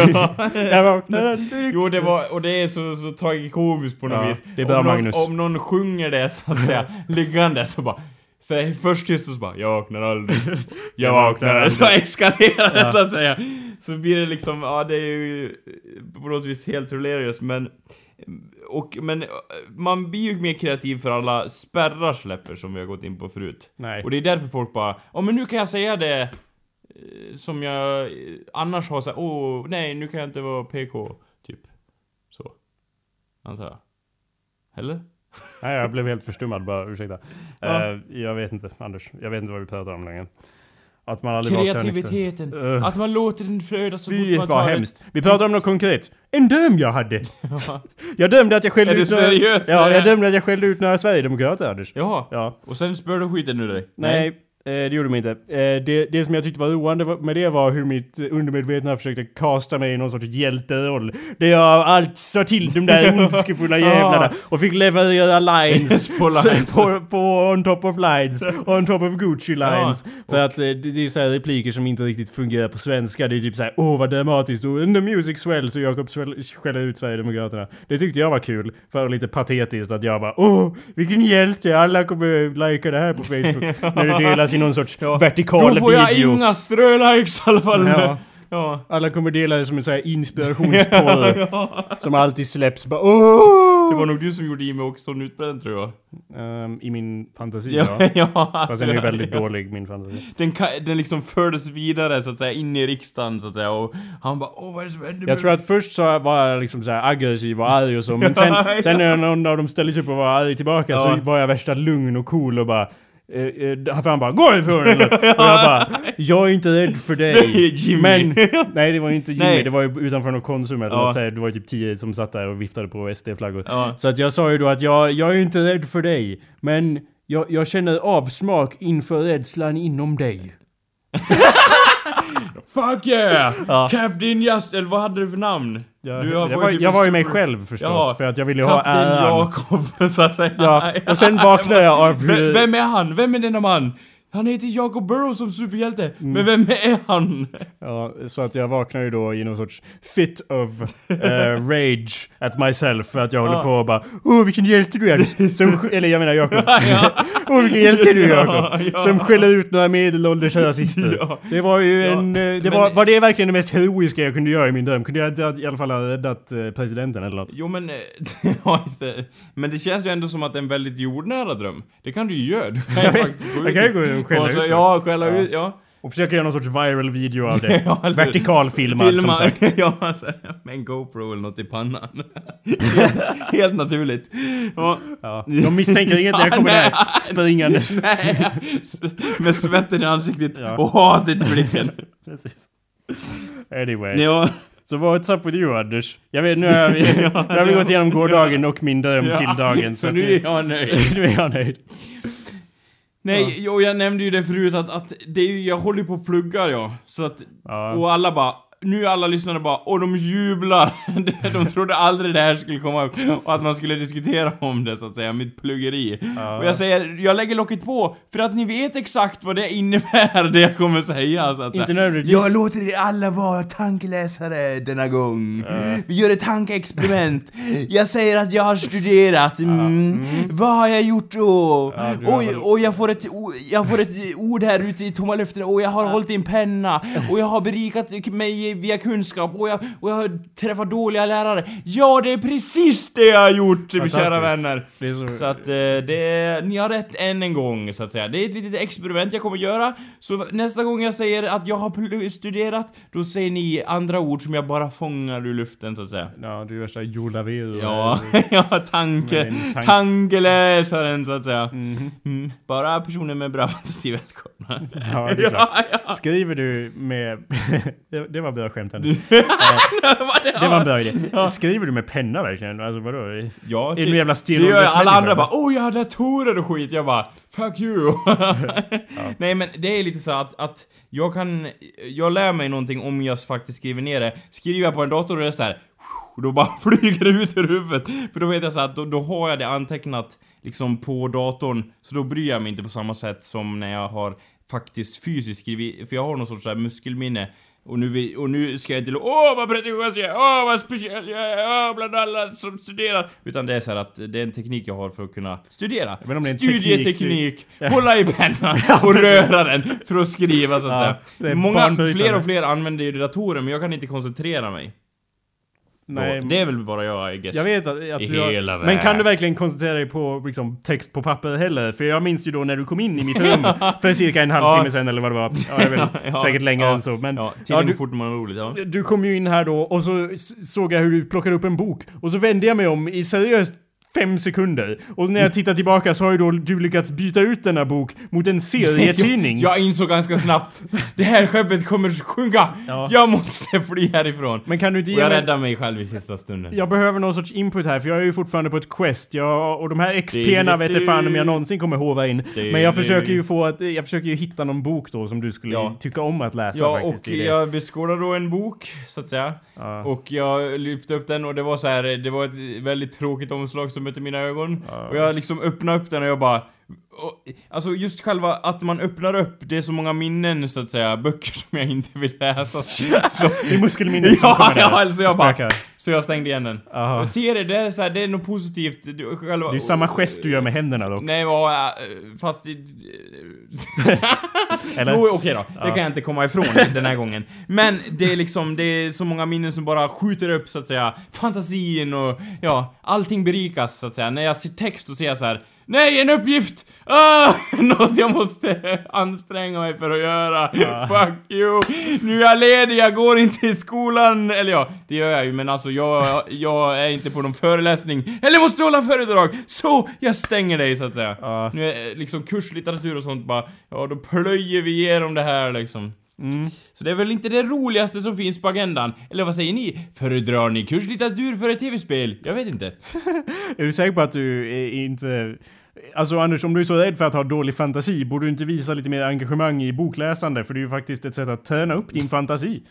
S1: Jag vaknar aldrig nykter.
S2: Jo, det var, och det är så, så tragikomiskt på något
S1: Ja,
S2: vis.
S1: det är bra,
S2: om, någon,
S1: Magnus.
S2: om någon sjunger det så
S1: *laughs*
S2: att säga, liggande så bara Säg först tyst och så bara 'Jag
S1: *laughs*
S2: vaknar aldrig' Jag vaknar aldrig. Så eskalerar det
S1: Ja.
S2: så att säga. Så blir det liksom, ja det är ju på något vis helt hilarious men... Och, men eh, man blir ju mer kreativ för alla spärrar släpper som vi har gått in på förut.
S1: Nej.
S2: Och det är därför folk bara, ja men nu kan jag säga det eh, som jag eh, annars har såhär, åh nej nu kan jag inte vara PK, typ. Så. Antar jag. Eller?
S1: Nej, jag blev helt förstummad bara. Ursäkta.
S2: Ja.
S1: Eh, jag vet inte, Anders. Jag vet inte vad vi pratar om längre. Att man aldrig vaknar nykter.
S2: Kreativiteten.
S1: Eh.
S2: Att man låter den flöda så
S1: Fy
S2: fort man tar
S1: vad hemskt. Vi pratar om något konkret. En döm jag
S2: *laughs*
S1: hade. Jag dömde att jag skällde
S2: Är du
S1: ut några...
S2: seriös?
S1: Ja, jag dömde att jag skällde ut några Sverigedemokrater, Anders.
S2: Jaha.
S1: Ja.
S2: Och sen spör du skiten ur dig?
S1: Nej, eh, det gjorde mig inte. Eh, det, det som jag tyckte var roande var- med det var hur mitt undermedvetna försökte kasta mig i någon sorts hjälteroll. Där jag allt sa till de där ondskefulla jävlarna och fick leverera lines.
S2: På
S1: Så-
S2: lines.
S1: På, på on top of lines. On top of Gucci lines. För att eh, det det är så här repliker som inte riktigt fungerar på svenska. Det är typ så här, åh vad dramatiskt. Och the music swells och Jakob sväll- skäller ut Sverigedemokraterna. Det tyckte jag var kul. För lite patetiskt att jag bara, åh vilken hjälte. Alla kommer likea det här på
S2: *laughs*
S1: Facebook. När det delas i någon sorts vertikal
S2: Då
S1: video.
S2: får jag inga strölikes i alla fall.
S1: Ja.
S2: ja.
S1: Alla kommer dela det som en sån
S2: *laughs*
S1: här inspirationsporr. Som alltid släpps bara åh!
S2: Det var nog du som gjorde Jimmy Åkesson utbränd tror jag.
S1: Ehm, I min fantasi ja.
S2: *laughs* Ja, ja.
S1: Fast den är väldigt dålig, min fantasi.
S2: Den, ka- den liksom fördes vidare så att säga in i riksdagen så att säga och han bara åh vad är det som händer med
S1: Jag tror att först så var jag liksom så här aggressiv och arg och så,
S2: *laughs*
S1: men sen, sen när någon av dem ställde sig upp och var arg tillbaka
S2: Ja.
S1: så var jag värsta lugn och cool och bara... eh, eh, för han bara 'Gå ifrån!' eller
S2: *laughs*
S1: något. Och jag bara 'Jag är inte rädd för dig'
S2: Nej, Jimmy.
S1: Men... Nej det var ju inte Jimmy,
S2: Nej.
S1: det var ju utanför något Konsum eller
S2: Ja.
S1: något, så här, Det var ju typ 10 som satt där och viftade på SD-flaggor.
S2: Ja.
S1: Så att jag sa ju då att jag, jag är ju inte rädd för dig, men jag, jag känner avsmak inför rädslan inom dig.
S2: Fuck yeah!
S1: Ja.
S2: Captain Just... Eller vad hade du för namn?
S1: Jag,
S2: du
S1: jag,
S2: ju
S1: var,
S2: typ
S1: jag
S2: en
S1: var ju mig
S2: super-
S1: själv förstås,
S2: Ja.
S1: för att jag ville ju ha
S2: Kapten
S1: äran.
S2: Jakob, *laughs* så att säga.
S1: Ja, och sen vaknade jag av
S2: *laughs* Vem,
S1: hur...
S2: vem är han? Vem är denna man? Han heter Jacob Burrow som superhjälte,
S1: Mm.
S2: men vem är han? *laughs*
S1: Ja, så att jag vaknade ju då i någon sorts fit of eh, rage at myself för att jag håller på och bara Åh vilken hjälte du är! Som, sk- eller jag menar Jakob. *laughs* Åh vilken hjälte du är Jakob!
S2: Ja, ja.
S1: Som skäller ut några medelålders rasister.
S2: Ja.
S1: Det var ju en... eh, Det
S2: men-
S1: var, var det verkligen det mest heroiska jag kunde göra i min dröm? Kunde jag inte i alla fall ha räddat eh, presidenten eller något?
S2: Jo men, eh, *laughs* ja just det. Men det känns ju ändå som att det är en väldigt jordnära dröm. Det kan du ju göra. Du kan
S1: Jag vet.
S2: faktiskt
S1: Jag kan ju gå ut och skälla
S2: och så-
S1: ut
S2: Ja, skälla
S1: Ja.
S2: ut, ja.
S1: Och försöka göra någon sorts viral video av det.
S2: *laughs* Ja, eller-
S1: Vertikalfilmad som sagt.
S2: *laughs* ja, alltså, med en GoPro eller något i pannan. *laughs* Helt naturligt. Ja.
S1: Ja. De misstänker inget när jag
S2: *laughs*
S1: kommer där springandes.
S2: Nej, s- med svetten i ansiktet
S1: Ja.
S2: och hatet i blicken.
S1: Precis. Anyway.
S2: Ja.
S1: Så what's up with you Anders? Jag vet, nu har
S2: *laughs*
S1: vi, nu har vi gått igenom gårdagen och min dröm till dagen.
S2: Så nu är jag nöjd.
S1: *laughs* nu är jag nöjd.
S2: Nej, och jag nämnde ju det förut att, att det är ju, jag håller ju på och pluggar ja. Så att,
S1: Ja.
S2: och alla bara, nu är alla lyssnare bara, och de jublar. *laughs* de trodde aldrig det här skulle komma upp och att man skulle diskutera om det så att säga, mitt pluggeri. Och jag säger, jag lägger locket på för att ni vet exakt vad det innebär, *laughs* det jag kommer säga så att
S1: Inte
S2: säga.
S1: nödvändigtvis.
S2: Jag låter er alla vara tankeläsare denna gång.
S1: Eh.
S2: Vi gör ett tankeexperiment. Jag säger att jag har studerat. Mm. Vad har jag gjort då?
S1: du har
S2: Oj,
S1: väl-
S2: och jag får ett, o- jag får ett ord här ute i tomma luften och jag har hållit i en penna och jag har berikat mig vi, via kunskap och jag, och jag har träffat dåliga lärare. Ja, det är precis det jag har gjort, mina kära
S1: Fantastiskt.
S2: vänner.
S1: Det är så-
S2: Så att eh, det, ni har rätt än en gång så att säga. Det är ett litet experiment jag kommer göra. Så nästa gång jag säger att jag har pl- studerat, då säger ni andra ord som jag bara fångar ur luften så att säga.
S1: Ja, du är värsta Jolavir.
S2: Ja, *laughs* ja tanke,
S1: Men tank- Mhm.
S2: tankeläsaren så att säga. Mm. Bara personer med bra fantasi välkomna.
S1: Ja, det är klart.
S2: *laughs* ja, ja.
S1: Skriver du med... *laughs* det, det var bra skämt. Henrik.
S2: Vad det-
S1: Det var en bra idé. Skriver du med penna verkligen? Alltså vadå?
S2: Ja, typ.
S1: Är du en jävla
S2: det
S1: stirrande
S2: gör jag. Alla
S1: människa,
S2: andra bara
S1: eller?
S2: åh jag har datorer och skit. Jag bara fuck you. *laughs* Nej men det är lite så att, att jag kan, jag lär mig någonting om jag faktiskt skriver ner det. Skriver jag på en dator och det är så här, och då bara *laughs* flyger det ut ur huvudet. För då vet jag så att då, då har jag det antecknat liksom på datorn. Så då bryr jag mig inte på samma sätt som när jag har faktiskt fysiskt skrivit, för jag har någon sorts så här muskelminne. Och nu, vi- och nu ska jag inte lo- Åh vad pretentiös jag är! Åh vad speciell jag är! Åh bland alla som studerar! Utan det är så här att det är en teknik jag har för att kunna studera.
S1: vet inte om det är en teknik-
S2: Studieteknik! Hålla
S1: *laughs*
S2: i pennan och röra den för att skriva så att
S1: typ. Ja, det
S2: säga.
S1: är
S2: Många,
S1: banbrytande.
S2: fler och fler använder ju datorer men jag kan inte koncentrera mig.
S1: Nej,
S2: det är väl bara jag I guess.
S1: Jag vet att, att
S2: I
S1: du
S2: hela
S1: har, Men
S2: världen.
S1: kan du verkligen koncentrera dig på liksom, text på papper heller? För jag minns ju då när du kom in i mitt
S2: *laughs*
S1: rum för cirka en halvtimme sen eller vad det var. Ja, jag vet,
S2: Ja,
S1: säkert längre
S2: ja,
S1: än så. Men,
S2: Ja,
S1: ja,
S2: tiden går
S1: du,
S2: fort när man har roligt. Ja.
S1: du kom ju in här då och så s- såg jag hur du plockade upp en bok och så vände jag mig om i seriöst fem sekunder. Och när jag tittar tillbaka så har ju då du lyckats byta ut denna bok mot
S2: *laughs*
S1: en serietidning.
S2: Jag, jag insåg ganska snabbt. *laughs* Det här skeppet kommer sjunka!
S1: Ja.
S2: Jag måste fly härifrån.
S1: Men kan du inte
S2: och
S1: ge
S2: jag
S1: mig...
S2: räddade mig själv i sista stunden.
S1: Jag behöver någon sorts input här, för jag är ju fortfarande på ett quest. Jag, och de här XP'na vet jag fan om jag någonsin kommer håva in. Men jag försöker ju få att, jag försöker ju hitta någon bok då som du skulle
S2: Ja.
S1: tycka om att läsa
S2: Ja,
S1: faktiskt.
S2: och
S1: i det.
S2: jag beskådade då en bok, så att säga.
S1: Ja.
S2: Och jag lyfte upp den och det var så här, det var ett väldigt tråkigt omslag som mötte mina ögon. Och jag liksom öppnade upp den och jag bara... Och, alltså just själva att man öppnar upp, det är så många minnen så att säga, böcker *laughs* som jag inte vill
S1: *laughs*
S2: läsa. Så,
S1: Det är muskelminnet
S2: *laughs*
S1: som
S2: Ja,
S1: kommer där.
S2: ja, alltså jag bara-
S1: Spökar.
S2: så jag stängde igen den.
S1: Aha.
S2: Och ser det, det är så här, det är något positivt. Det, själva,
S1: Det är ju samma gest du gör med händerna dock.
S2: Nej, vad... äh, Fast... i-
S1: Eller?
S2: Jo, okej då. Det kan jag inte
S1: *laughs*
S2: komma ifrån den här gången. Men det är liksom, det är så många minnen som bara skjuter upp så att säga. Fantasin och ja, allting berikas så att säga. När jag ser text och ser så här. Nej, en uppgift! Ah, *laughs* något jag måste *laughs* anstränga mig för att göra. *laughs* Fuck you! Nu är jag ledig, jag går inte i skolan. Eller ja, det gör jag ju, men alltså jag, jag är inte på någon föreläsning. Eller måste hålla föredrag! Så, jag stänger dig så att säga.
S1: Ja.
S2: Nu är eh, liksom kurslitteratur och sånt bara, ja då plöjer vi igenom det här liksom.
S1: Mm.
S2: Så det är väl inte det roligaste som finns på agendan. Eller vad säger ni? Föredrar ni kurslitteratur för ett tv-spel? Jag vet inte.
S1: Är du säker på att du är inte... Alltså Anders, om du är så rädd för att ha dålig fantasi, borde du inte visa lite mer engagemang i bokläsande? För det är ju faktiskt ett sätt att träna upp din fantasi.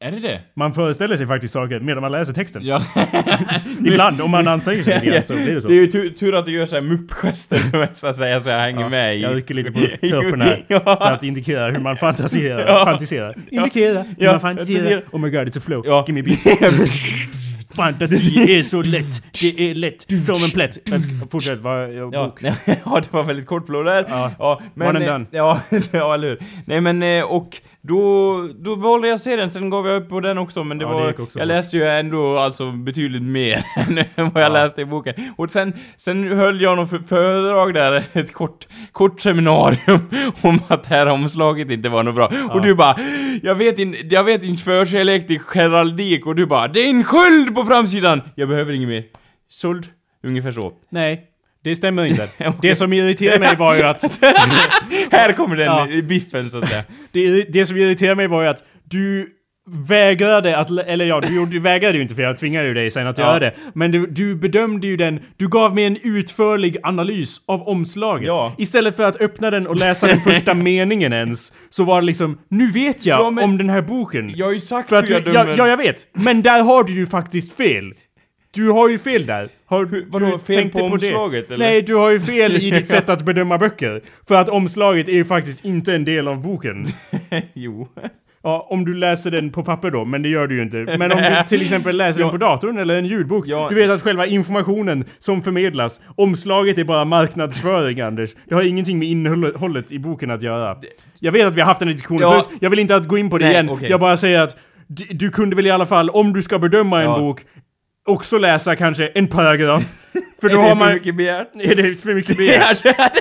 S2: Är det det?
S1: Man föreställer sig faktiskt saker medan man läser texten.
S2: *laughs* Ja.
S1: Ibland, om man anstränger sig lite grann så blir det så.
S2: Det är ju tur, tur att du gör såhär muppgester *laughs* för mig så att säga, så jag hänger med i...
S1: Jag
S2: *laughs*
S1: rycker lite på kroppen här för att indikera hur man fantiserar.
S2: Ja.
S1: fantiserar. Indikera hur
S2: Ja,
S1: man fantiserar.
S2: fantiserar.
S1: Oh my god, it's a flow.
S2: Ja.
S1: Give me a beat.
S2: *laughs*
S1: Fantasi är så lätt. Det är lätt som en plätt. Men ska- Fortsätt. Vad, jag,
S2: Ja,
S1: bok.
S2: *laughs* ja, det var väldigt kort flow där.
S1: Ja.
S2: men,
S1: One and
S2: eh,
S1: done.
S2: *laughs* Ja, ja, eller hur. Nej men, eh, och då, då valde jag serien, sen gav jag upp på den också men det
S1: Ja, det
S2: var...
S1: gick också
S2: jag
S1: fort.
S2: läste ju ändå alltså betydligt mer *laughs* än vad jag läste i boken. Och sen, sen höll jag något för- föredrag där, *laughs* ett kort, kort seminarium *laughs* om att det här omslaget inte var något bra. Och du bara, jag vet, in, jag vet inte förkärlek till Geraldik och du bara, det är en sköld på framsidan! Jag behöver inget mer. Såld. Ungefär så.
S1: Nej, det stämmer
S2: *laughs*
S1: inte. Det som irriterade mig var ju att...
S2: Här kommer den
S1: Ja.
S2: i biffen så att säga.
S1: Det, det som irriterade mig var ju att du vägrade att, lä- eller ja, du, gjorde- du vägrade ju inte för jag tvingade ju dig sen att
S2: Ja.
S1: göra det. Men du, du bedömde ju den, du gav mig en utförlig analys av omslaget.
S2: Ja.
S1: Istället för att öppna den och läsa den
S2: *laughs*
S1: första meningen ens, så var det liksom, nu vet jag
S2: Ja, men-
S1: om den här boken.
S2: Jag har ju sagt
S1: för att
S2: hur
S1: du,
S2: jag
S1: ja,
S2: dömer.
S1: ja, jag vet. Men där har du ju faktiskt fel. Du har ju fel där. Har,
S2: vadå,
S1: du
S2: fel
S1: tänkte
S2: på
S1: det?
S2: omslaget, eller?
S1: Nej, du har ju fel i
S2: *laughs*
S1: ditt sätt att bedöma böcker. För att omslaget är ju faktiskt inte en del av boken.
S2: *laughs* jo.
S1: Ja, om du läser den på papper då, men det gör du ju inte. Men om du till exempel läser den på datorn eller en ljudbok.
S2: Ja.
S1: Du vet att själva informationen som förmedlas, omslaget är bara marknadsföring Anders. Det har ingenting med innehållet i boken att göra. Jag vet att vi har haft den här diskussionen
S2: Ja.
S1: förut, jag vill inte att gå in på det
S2: Nej,
S1: igen.
S2: okej.
S1: Jag bara säger att d- du kunde väl i alla fall, om du ska bedöma en
S2: Ja.
S1: bok, också läsa kanske en
S2: *laughs*
S1: paragraf. För
S2: Är
S1: då
S2: det
S1: har
S2: för
S1: man...
S2: mycket begärt?
S1: *laughs* Är det för
S2: *laughs*
S1: mycket begärt?
S2: Ja, det är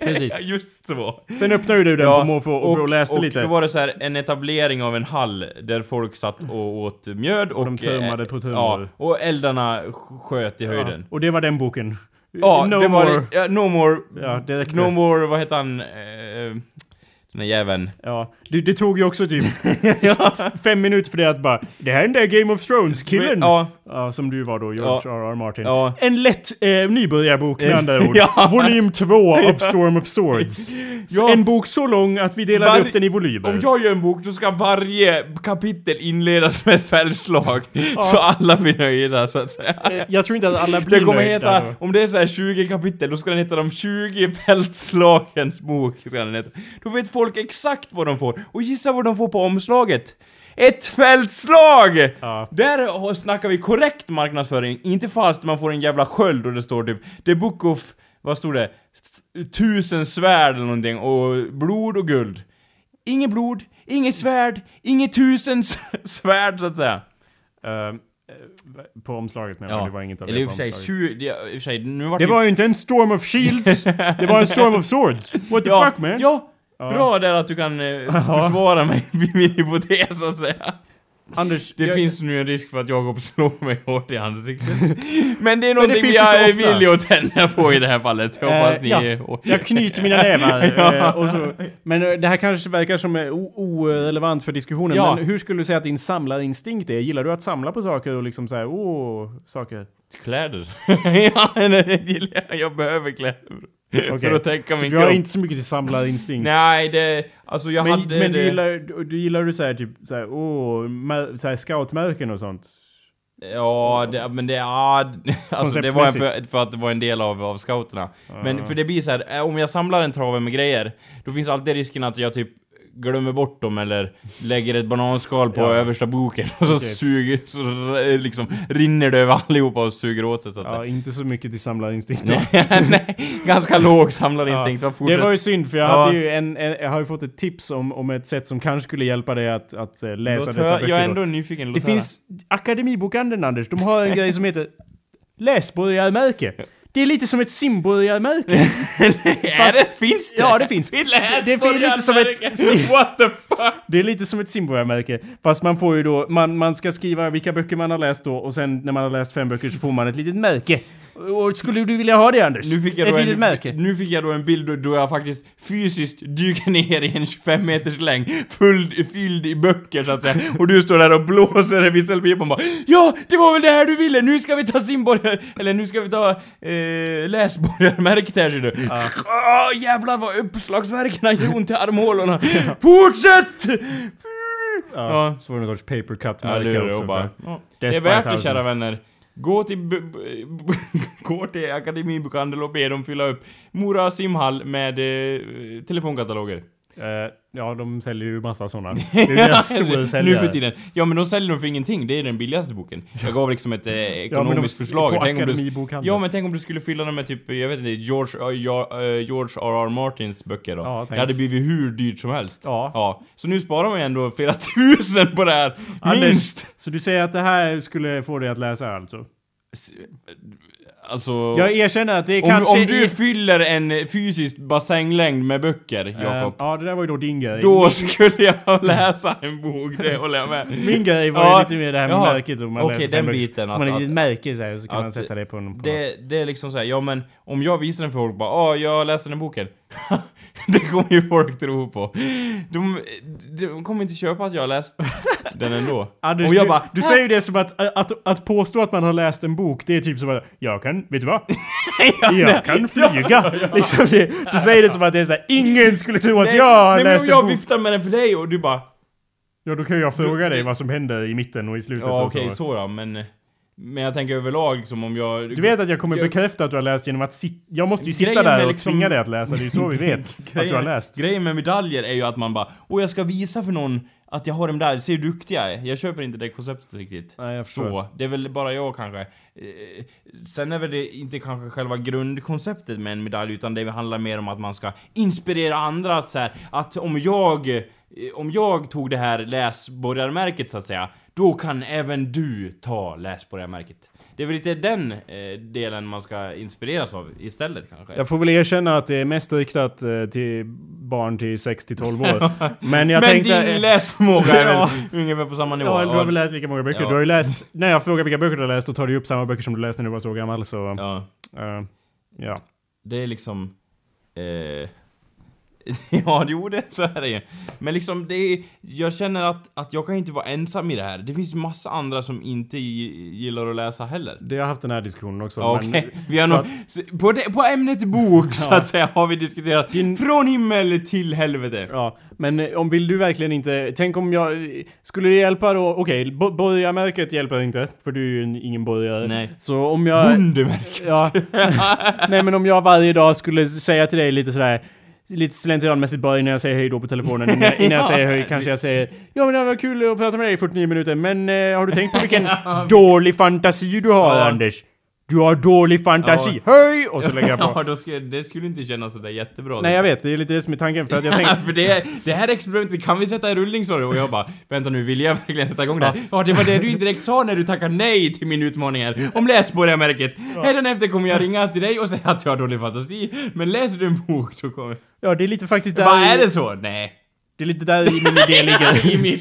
S2: det.
S1: Precis.
S2: Ja, Just så.
S1: Sen öppnade ju du den på måfå och, och läste
S2: och
S1: lite.
S2: då var det så här en etablering av en hall där folk satt och åt mjöd och...
S1: de törmade
S2: eh,
S1: på törmar.
S2: Ja, och eldarna sk- sköt i
S1: Ja,
S2: höjden.
S1: Och det var den boken.
S2: Ja,
S1: no
S2: det var
S1: more.
S2: Ja, no more.
S1: Ja, det räckte.
S2: no more, vad heter han? Eh, den där jäveln.
S1: Ja, det, det tog ju också
S2: *laughs*
S1: typ fem minuter för det att bara Det här är den där Game of Thrones-killen! Ja.
S2: Ja,
S1: som du var då, George R.R. Martin.
S2: ja.
S1: En lätt eh, nybörjarbok med andra ord.
S2: *laughs* Ja.
S1: Volym
S2: *laughs*
S1: 2 av Storm of Swords.
S2: Ja.
S1: En bok så lång att vi delade
S2: Var-
S1: upp den i volymer.
S2: Om jag gör en bok då ska varje kapitel inledas med ett fällslag. Så alla blir nöjda så att säga.
S1: Eh, Jag tror inte att alla blir
S2: Det kommer
S1: nöjda
S2: heta,
S1: då.
S2: om det är så här 20 kapitel, då ska den heta de 20 fältslagens bok. Ska den heta. Då vet folk exakt vad de får. Och gissa vad de får på omslaget? Ett fältslag!
S1: Ja.
S2: Där har- snackar vi korrekt marknadsföring, inte fast man får en jävla sköld och det står typ The Book of, vad stod det? S- Tusen svärd eller någonting och blod och guld. Inget blod, inget svärd, inget tusen s- *laughs* svärd så att säga.
S1: Eh, eh, på omslaget men det var inget av det
S2: Eller i och
S1: på
S2: för sig,
S1: omslaget.
S2: 20, det- i och för sig, nu vart
S1: Det var ju inte en Storm of
S2: *laughs*
S1: Shields, det var en Storm of Swords. What the
S2: ja,
S1: fuck man?
S2: Ja, bra där att du
S1: *laughs*
S2: kan eh, försvara mig vid min hypotes så att säga.
S1: Anders,
S2: Det
S1: jag-
S2: finns nu en risk för att Jakob slår mig hårt
S1: *laughs*
S2: i ansiktet. Men det är
S1: det
S2: någonting
S1: finns det så
S2: jag är
S1: ofta.
S2: villig att tända på i det här fallet. Jag hoppas
S1: Eh,
S2: ni
S1: ja.
S2: är hårda.
S1: Jag knyter mina
S2: *laughs*
S1: nävar. eh, och så, men eh, det här kanske verkar som eh, o- orelevant för diskussionen.
S2: Ja.
S1: Men hur skulle du säga att din samlarinstinkt är? Gillar du att samla på saker och liksom såhär, åh, saker?
S2: Kläder. *laughs* ja, nej, det gillar jag. Jag behöver kläder.
S1: Okej.
S2: För att täcka min
S1: Du har
S2: kropp.
S1: inte så mycket till samlarinstinkt.
S2: Nej, det... Alltså jag
S1: men
S2: hade
S1: men
S2: det...
S1: du gillar du, du gillar du såhär typ såhär, åh, mä- såhär scoutmärken och sånt?
S2: Ja, det, men det... Ja, *laughs* alltså det var en för,
S1: Mm. Konceptmässigt.
S2: för att det var en del av, av scouterna. Men för det blir så här, eh, om jag samlar en trave med grejer, då finns alltid risken att jag typ glömmer bort dem eller lägger ett bananskal på
S1: Ja.
S2: översta boken och så
S1: Precis.
S2: suger, så r- liksom rinner det över allihopa och suger åt sig så att säga.
S1: Ja, inte så mycket till samlarinstinkt.
S2: *laughs* Nej, ganska låg samlarinstinkt. Vad
S1: Det
S2: fortsätt.
S1: var ju synd för jag,
S2: Ja.
S1: hade ju en, en, jag har ju fått ett tips om, om ett sätt som kanske skulle hjälpa dig att, att eh, läsa
S2: Låt
S1: dessa
S2: höra-
S1: böcker.
S2: Jag är
S1: då.
S2: ändå nyfiken. Låt
S1: Det
S2: höra.
S1: finns Akademibokhandeln Anders, de har en grej som heter läsborgarmärke. Det är lite som ett simborgarmärke.
S2: *laughs* Är
S1: fast-
S2: det, finns det?
S1: Ja, det finns.
S2: Till här
S1: Det- det är lite som ett-
S2: början- What the fuck?
S1: Det är lite som ett simborgarmärke. Fast man får ju då, man, man ska skriva vilka böcker man har läst då och sen när man har läst fem böcker så får man ett litet märke. Och skulle du vilja ha det Anders?
S2: Nu fick, jag
S1: ett
S2: då
S1: litet
S2: en,
S1: märke.
S2: nu fick jag då en bild då jag faktiskt fysiskt dyker ner i en 25 meters längd, full, fylld i böcker så att säga. Och du står där och blåser i visselpipan bara Ja, det var väl det här du ville! Nu ska vi ta simborgar... Eller nu ska vi ta eh, läsborgarmärket här ser du. Ah, jävlar vad uppslagsverken gör ont i armhålorna. Fortsätt!
S1: Ja,
S2: Ja.
S1: Så får du någon sorts paper
S2: Ja,
S1: cut-märke
S2: det är det
S1: också.
S2: och bara.
S1: för-
S2: Ja.
S1: Death
S2: Det
S1: by
S2: är värt det
S1: thousand.
S2: kära vänner. Gå till, b- b- b- *laughs* gå till Akademibokhandel och be dem fylla upp Mora simhall med eh, telefonkataloger.
S1: Eh, ja, de säljer ju massa
S2: *laughs*
S1: sådana. Det är ju deras stora
S2: nu
S1: säljare.
S2: för tiden. Ja men de säljer dem för ingenting, det är den billigaste boken. Jag gav liksom ett eh, ekonomiskt
S1: de-
S2: förslag.
S1: på
S2: Tänk om du,
S1: Akademibokhandeln.
S2: ja men tänk om du skulle fylla dem med typ, jag vet inte, George eh, ja, eh, George R.R. Martins böcker då.
S1: Ja, tänk.
S2: det hade blivit hur dyrt som helst.
S1: Ja.
S2: Så nu sparar man ju ändå flera *laughs* tusen på det här.
S1: Anders,
S2: Minst!
S1: Så du säger att det här skulle få dig att läsa alltså?
S2: Alltså...
S1: Jag erkänner att det är
S2: Om,
S1: kanske...
S2: om du
S1: är-
S2: fyller en eh, fysisk bassänglängd med böcker,
S1: Eh,
S2: Jakob.
S1: Ja, det där var ju då din grej.
S2: Då skulle jag *laughs* läsa en bok, det håller jag *laughs* med.
S1: Min grej var
S2: Ja,
S1: ju lite mer det här med
S2: jaha.
S1: märket. och man
S2: Okej,
S1: läser
S2: den
S1: fem böcker. Om
S2: biten att-
S1: man har
S2: att-
S1: ett litet märke så, här, så kan
S2: att-
S1: man sätta det på, en, på något.
S2: Det, det är liksom såhär, ja men om jag visar den för folk bara ah, jag läser den boken. *laughs* det kommer ju folk tro på. De, de kommer inte köpa att jag har läst *laughs* den ändå.
S1: Anders,
S2: och jag
S1: du,
S2: bara,
S1: du säger ju det som att, att, att påstå att man har läst en bok, det är typ som att jag kan, vet du
S2: *laughs*
S1: vad? jag kan flyga! Liksom det, du säger det som att det är såhär, ingen skulle tro att
S2: nej,
S1: jag har
S2: nej, men
S1: läst
S2: om
S1: en
S2: jag
S1: bok.
S2: viftar med den för dig och du bara,
S1: Ja, då kan jag fråga dig vad som händer i mitten och i slutet
S2: ja
S1: och så.
S2: okej så då, men... Men jag tänker överlag liksom om jag...
S1: Du vet att jag kommer
S2: Jag-
S1: bekräfta att du har läst genom att sitta... Jag måste ju sitta
S2: Grejen
S1: där
S2: med
S1: och
S2: liksom-
S1: tvinga dig att läsa, det är ju så vi vet att du har läst.
S2: *laughs* Grejen med medaljer är ju att man bara Åh jag ska visa för någon att jag har dem där, se hur duktig jag är. Jag köper inte det konceptet riktigt.
S1: Nej, jag förstår.
S2: Så, det är väl bara jag kanske. Eh, Sen är väl det inte kanske själva grundkonceptet med en medalj utan det handlar mer om att man ska inspirera andra att så här, att om jag eh, om jag tog det här läsborgarmärket så att säga, då kan även du ta läsborgarmärket. Det är väl lite den eh, delen man ska inspireras av istället kanske.
S1: Jag får väl erkänna att det är mest riktat eh, till barn till 6-12
S2: *laughs*
S1: år. Men jag
S2: Men
S1: tänkte...
S2: din läsförmåga
S1: *laughs*
S2: är väl
S1: Ja.
S2: ungefär på samma nivå?
S1: Ja, du har väl läst lika många böcker?
S2: Ja.
S1: Du har ju läst... När jag frågar vilka böcker du har läst, då tar du upp samma böcker som du läste när du var så gammal, så... eh,
S2: ja.
S1: Ja.
S2: Det är liksom... Eh, *laughs* ja, jo det så är det ju. Men liksom det är, Jag känner att, att jag kan inte vara ensam i det här. Det finns massa andra som inte gi- gillar att läsa heller.
S1: Det har jag haft den här diskussionen också.
S2: Ja, Okej,
S1: men-
S2: vi har
S1: så
S2: nog... så- På, det, på ämnet bok så att säga har vi diskuterat
S1: Din-
S2: från himmel till helvete.
S1: Ja, men eh, om vill du verkligen inte... Tänk om jag... Skulle det hjälpa då? Okej, bo- borgarmärket hjälper inte, för du är ju en- ingen borgare.
S2: Nej.
S1: Så om jag...
S2: Bondemärket.
S1: Ja. *laughs* Nej men om jag varje dag skulle säga till dig lite sådär Lite slentrianmässigt bara innan jag säger hej då på telefonen. Innan, jag-
S2: *laughs*
S1: innan jag säger hej kanske jag säger Ja men det var kul att prata med dig i 49 minuter men eh, har du tänkt på
S2: *laughs*
S1: vilken dålig fantasi du har
S2: Ja.
S1: Anders? Du har dålig fantasi. Hej! Och så lägger jag på.
S2: *laughs* Ja, då skulle, det skulle inte kännas sådär jättebra.
S1: Nej jag vet, det är lite det som är tanken för att jag *laughs*
S2: *laughs*
S1: tänkte...
S2: För det, det här experimentet kan vi sätta i rullning sa du och jag bara Vänta nu, vill jag verkligen sätta igång det här? Ja, det var det du indirekt sa när du tackade nej till min utmaning här om läsborgarmärket. Hädanefter kommer jag ringa till dig och säga att jag har dålig fantasi, men läser du en bok då kommer...
S1: Ja det är lite faktiskt där...
S2: Vad
S1: i-
S2: är det så? Nej.
S1: Det är lite där i min idé ligger.
S2: I min,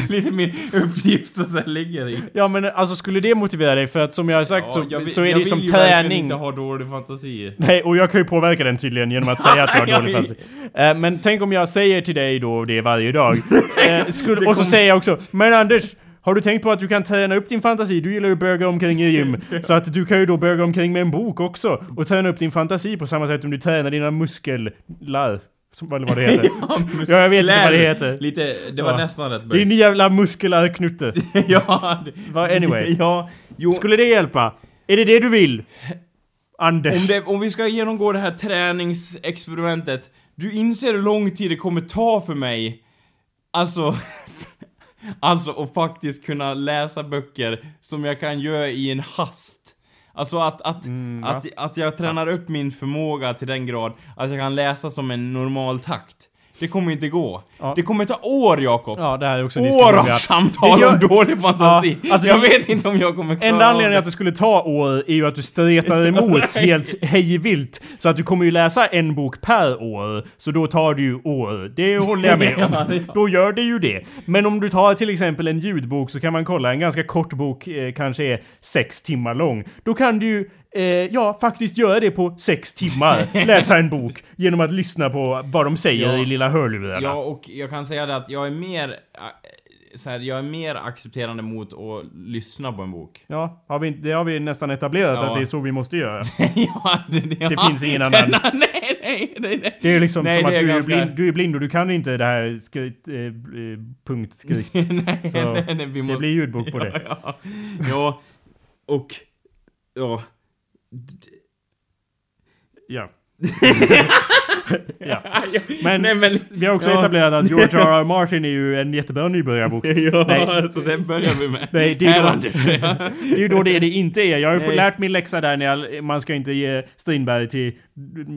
S2: *laughs* lite min uppgift som sen ligger i.
S1: Ja men alltså skulle det motivera dig? För att som jag har sagt
S2: Ja,
S1: så,
S2: jag vill-
S1: så är det ju som
S2: Jag vill ju verkligen
S1: träning.
S2: inte ha dålig fantasi.
S1: Nej, och jag kan ju påverka den tydligen genom att säga att
S2: *laughs*
S1: jag har dålig fantasi. Eh, men tänk om jag säger till dig då det varje
S2: *laughs*
S1: dag. Eh, skulle, och så säger jag också Men Anders! Har du tänkt på att du kan träna upp din fantasi? Du gillar ju att böga omkring i
S2: *laughs*
S1: gym. Så att du kan ju då böga omkring med en bok också. Och träna upp din fantasi på samma sätt som du tränar dina musklar. Som, eller vad det
S2: *laughs*
S1: heter. Ja, jag vet inte vad det heter.
S2: Lite, det var
S1: Ja.
S2: nästan rätt
S1: Din jävla muskelar Knutte.
S2: *laughs* Ja, det-
S1: Vad- anyway.
S2: *laughs* Ja, jo.
S1: Skulle det hjälpa? Är det det du vill? Anders?
S2: Om, det, om vi ska genomgå det här träningsexperimentet, du inser hur lång tid det kommer ta för mig, alltså, *laughs* alltså att faktiskt kunna läsa böcker som jag kan göra i en hast. Alltså att, att,
S1: Mm,
S2: att, att jag tränar upp min förmåga till den grad att jag kan läsa som en normal takt. Det kommer inte gå.
S1: Ja.
S2: Det kommer ta år, Jakob.
S1: Ja, det här är också en
S2: år
S1: diskussion
S2: av
S1: vi har.
S2: samtal
S1: Det gör-
S2: om dålig fantasi.
S1: Ja, alltså
S2: jag
S1: vi-
S2: vet inte om jag kommer klara
S1: Enda
S2: av
S1: anledningen
S2: det.
S1: att det skulle ta år är ju att du *laughs* stretar emot helt hejvilt. Så att du kommer ju läsa en bok per år. Så då tar det ju år. Det håller jag *laughs* med om. Då gör det ju det. Men om du tar till exempel en ljudbok så kan man kolla. En ganska kort bok eh, kanske är sex timmar lång. Då kan du ju Eh, ja, faktiskt göra det på sex *laughs* timmar. Läsa en bok genom att lyssna på vad de säger
S2: Ja.
S1: i lilla hörlurarna.
S2: Ja, och jag kan säga det att jag är mer... äh, Så här, jag är mer accepterande mot att lyssna på en bok. *laughs*
S1: Ja, har vi, inte- det har vi nästan etablerat
S2: Ja.
S1: att det är så vi måste göra.
S2: ja, det, det,
S1: finns ingen
S2: denna-
S1: annan.
S2: *laughs* Nej, nej, nej, nej.
S1: Det är liksom
S2: *laughs* Nej,
S1: som att
S2: det är
S1: du,
S2: ganska-
S1: är blind, du är blind och du kan inte det här skritt, eh, eh, punktskrift.
S2: nej,
S1: Så,
S2: nej, nej, *laughs* vi måste...
S1: Det blir ljudbok på det.
S2: *laughs* Ja, ja. ja, och... Ja. D-
S1: Ja. ja.
S2: *laughs* ja,
S1: Men,
S2: Nej, men-
S1: vi har också
S2: ja.
S1: etablerat
S2: *laughs*
S1: att George R.R. Martin är ju en jättebra nybörjarbok.
S2: Ja,
S1: Nej.
S2: *laughs* så den börjar vi med.
S1: Nej, det är
S2: Här
S1: då-
S2: Anders. *laughs* Ja.
S1: Det är ju då det det inte är. Jag har ju fått
S2: Nej.
S1: lärt min läxa där när jag, man ska inte ge Strindberg till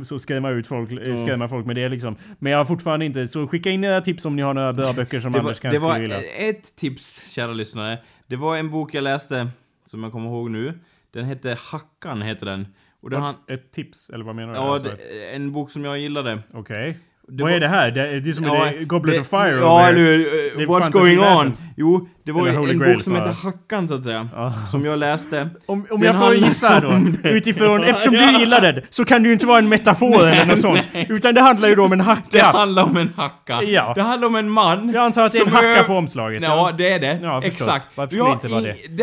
S1: så skrämma ut folk, eh, skrämma folk med det liksom. Men jag har fortfarande inte, så skicka in era tips om ni har några bra böcker som
S2: Det
S1: Anders
S2: var,
S1: kanske
S2: det var
S1: skulle gilla.
S2: ett tips, kära lyssnare. Det var en bok jag läste, som jag kommer ihåg nu. Den hette Hackan, heter den. Och den han,
S1: Ett tips, eller vad menar du?
S2: Ja,
S1: Alltså, ett-
S2: det, en bok som jag gillade.
S1: Okej.
S2: Det
S1: Vad
S2: var-
S1: är det här? Det, det är som
S2: Ja,
S1: ja, det, Goblet
S2: det-
S1: of Fire
S2: Ja,
S1: over
S2: eller
S1: here.
S2: hur?
S1: Det är
S2: Eh, What's going on?
S1: fantasiväsen.
S2: Jo, det var
S1: Eller
S2: ju
S1: Holy
S2: en
S1: Grail,
S2: bok som
S1: snarare.
S2: hette Hackan, så att säga.
S1: Ja.
S2: Som jag läste.
S1: Om, om
S2: Den
S1: jag får
S2: handlar
S1: gissa då,
S2: om det. *laughs*
S1: utifrån, eftersom du gillar den, så kan det ju inte vara en metafor eller något sånt. Utan det handlar ju då om en
S2: Det
S1: hacka.
S2: handlar om en hacka.
S1: Ja.
S2: Det handlar om en man.
S1: Jag antar att det är en
S2: som
S1: hacka
S2: ö-
S1: på omslaget.
S2: Ja, det är det.
S1: Ja, förstås.
S2: Exakt.
S1: Varför skulle
S2: ja,
S1: det inte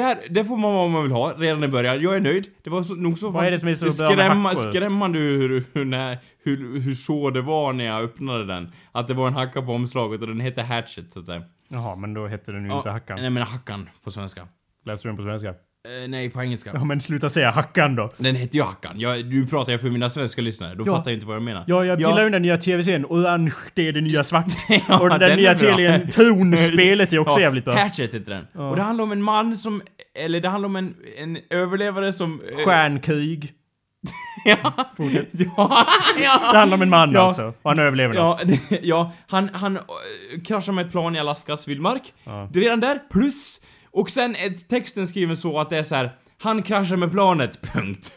S1: vara
S2: i- Där, där får man vad man vill ha redan i början. Jag är nöjd. Det var så, nog så...
S1: Vad är det som är så bra med
S2: skrämma,
S1: hackor?
S2: Skrämmande hur, hur, när, hur, hur så det var när jag öppnade den. Att det var en hacka på omslaget och den hette Hatchet, så att säga.
S1: Jaha, men då heter den ju inte
S2: Ja,
S1: hackan.
S2: Nej men hackan på svenska.
S1: Läste du den på svenska?
S2: Eh, nej, på
S1: Ja,
S2: engelska.
S1: men sluta säga hackan då.
S2: Den heter ju hackan. Jag, nu pratar jag för mina svenska lyssnare, då
S1: Ja.
S2: fattar jag inte vad jag menar.
S1: Ja, jag
S2: *laughs*
S1: gillar ju
S2: ja.
S1: den nya tv-serien Orange, det är det nya svart.
S2: *laughs* Ja,
S1: Och den,
S2: den
S1: där
S2: är
S1: nya
S2: bra. *laughs*
S1: tv-serien Tronspelet är också
S2: Ja,
S1: jävligt bra.
S2: Hatchet heter den. Och det handlar om en man som... Eller det handlar om en, en överlevare som... eh,
S1: Stjärnkrig.
S2: *laughs* ja. *laughs* ja.
S1: Det
S2: ja.
S1: handlar om en man
S2: Ja.
S1: alltså. Och han överlever
S2: Ja,
S1: något.
S2: det- ja, han, han eh, kraschar med ett plan i Alaskas vildmark. Det är redan där, plus. Och sen är texten skriven så att det är så här. Han kraschar med planet, punkt.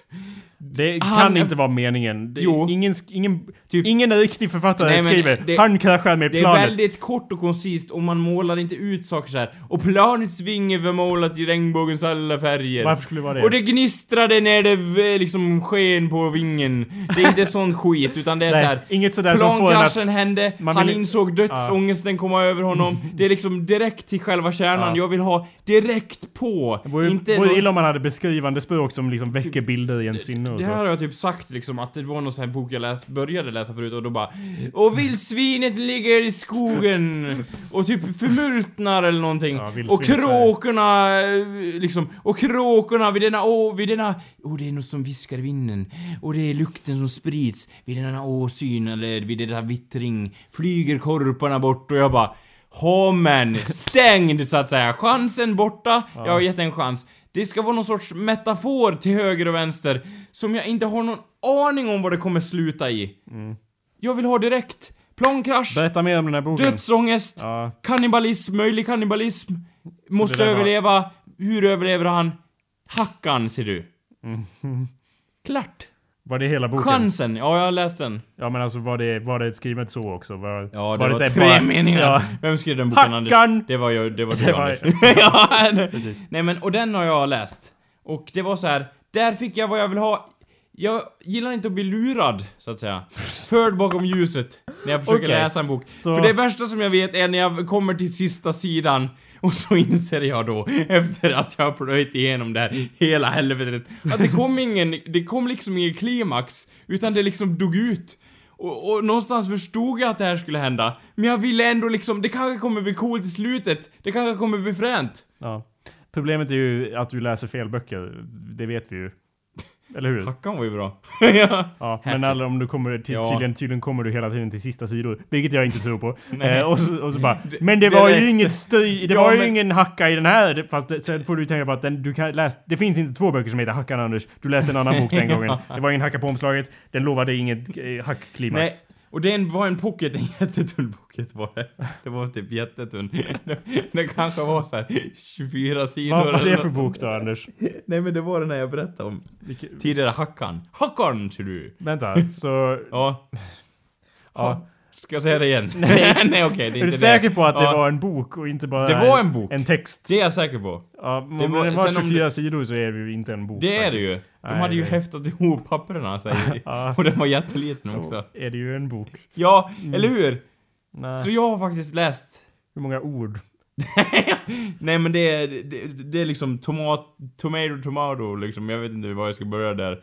S1: Det kan
S2: Han-
S1: inte vara meningen. Det,
S2: Jo.
S1: ingen, sk- ingen,
S2: Typ-
S1: ingen riktig författare
S2: Nej, men
S1: skriver
S2: det-
S1: Han kraschar med
S2: Det är
S1: planet.
S2: väldigt kort och koncist och man målar inte ut saker så här. Och planets vinge var målat i regnbågens alla färger.
S1: Varför skulle det vara det?
S2: Och det gnistrade när det v- liksom sken på vingen. Det är
S1: *laughs*
S2: inte sån skit, utan det är
S1: Nej,
S2: så här.
S1: inget sådär som får en att...
S2: Plankraschen hände,
S1: man
S2: han
S1: vill-
S2: insåg dödsångesten komma
S1: *laughs*
S2: över honom. Det är liksom direkt till själva kärnan.
S1: Ja.
S2: Jag vill ha direkt på.
S1: Det vore,
S2: inte
S1: vore
S2: någon-
S1: illa om man hade beskrivande språk som liksom väcker bilder i ens sinne och
S2: det här
S1: så.
S2: har jag typ sagt liksom att det var någon sån här bok jag läs, började läsa förut och då bara Och vildsvinet ligger i skogen och typ förmultnar eller någonting
S1: Ja, vildsvin,
S2: och kråkorna eh, liksom och kråkorna vid denna å, vid denna och det är något som viskar i vinden och det är lukten som sprids vid denna åsyn eller vid denna vittring flyger korparna bort och jag bara Ja men, stängd så att säga. Chansen borta. Jag har gett en chans. Det ska vara någon sorts metafor till höger och vänster som jag inte har någon aning om vad det kommer sluta i.
S1: Mm.
S2: Jag vill ha direkt. Plankrasch,
S1: Berätta mer om den här boken.
S2: dödsångest,
S1: Ja.
S2: kannibalism, möjlig kannibalism.
S1: det
S2: Måste
S1: där var-
S2: överleva. Hur överlever han? Hackan, ser
S1: *laughs*
S2: du. Klart.
S1: Var det hela boken?
S2: Chansen. Ja, jag har läst den.
S1: Ja men alltså var det, var det skrivet så också? Var,
S2: Ja, det var,
S1: så här
S2: tre
S1: bara-
S2: meningar.
S1: Ja.
S2: Vem skrev den boken,
S1: Hackan!
S2: Anders? Det var jag, det var du,
S1: Det var-
S2: Anders. *laughs* ja, nej. nej men, och den har jag läst. Och det var så här. där fick jag vad jag vill ha. Jag gillar inte att bli lurad, så att säga. Förd bakom ljuset, när jag försöker
S1: Okej.
S2: läsa en bok.
S1: Så-
S2: För det värsta som jag vet är när jag kommer till sista sidan och så inser jag då, efter att jag har plöjt igenom det här hela helvetet, att det kom ingen, det kom liksom ingen klimax, utan det liksom dog ut. Och, och någonstans förstod jag att det här skulle hända, men jag ville ändå liksom, det kanske kommer bli coolt i slutet, det kanske kommer bli fränt.
S1: Ja. Problemet är ju att du läser fel böcker. Det vet vi ju. Eller hur?
S2: Hackan var ju bra. *laughs* ja.
S1: Ja, men alla, om du kommer till,
S2: Ja.
S1: tydligen, tydligen kommer du hela tiden till sista sidor. Vilket jag inte tror
S2: *laughs*
S1: på. eh, och, så, och så bara, men det
S2: det
S1: var ju
S2: räckte."
S1: inget
S2: *laughs*
S1: sty, det
S2: Ja,
S1: var ju
S2: men-
S1: ingen hacka i den här. Det- Fast det, sen får du tänka på att den, du kan läsa, det finns inte två böcker som heter Hackan Anders. Du läste en annan bok den
S2: *laughs*
S1: gången. Det var ingen hacka på omslaget. Den lovade inget eh, hackklimax.
S2: Nej, och det är en- var en pocket, en jättetunn pocket var det. Det var typ jättetunn. *laughs* Det, det kanske var så här 24 sidor
S1: Vad var det
S2: eller
S1: för
S2: nåt.
S1: bok då Anders?
S2: Nej men det var den här jag berättade om.
S1: Vilke-
S2: Tidigare Hackan. Hackan ser du!
S1: Vänta,
S2: *laughs*
S1: så...
S2: Ja.
S1: Ja.
S2: Ska jag säga det igen? Nej, *laughs* nej okej, det är
S1: Är du
S2: inte
S1: säker på att det
S2: Ja.
S1: var en bok och inte bara
S2: Det var en bok.
S1: text?
S2: Det är jag säker på.
S1: Ja, men
S2: Det
S1: om
S2: var-
S1: det var
S2: sen om
S1: 24 sidor så är det ju inte en bok.
S2: Det är det
S1: faktiskt.
S2: ju. De
S1: Nej,
S2: hade ju
S1: det-
S2: häftat ihop
S1: *laughs*
S2: papperna säger *laughs*
S1: Ja.
S2: Och den var jätteliten också.
S1: Är det ju en bok?
S2: Ja, eller
S1: Mm.
S2: hur?
S1: Nej.
S2: Så jag har faktiskt läst
S1: Hur många ord?
S2: Nej men det är, det, det är liksom tomat, tomato, tomato liksom. Jag vet inte var jag ska börja där. Eh,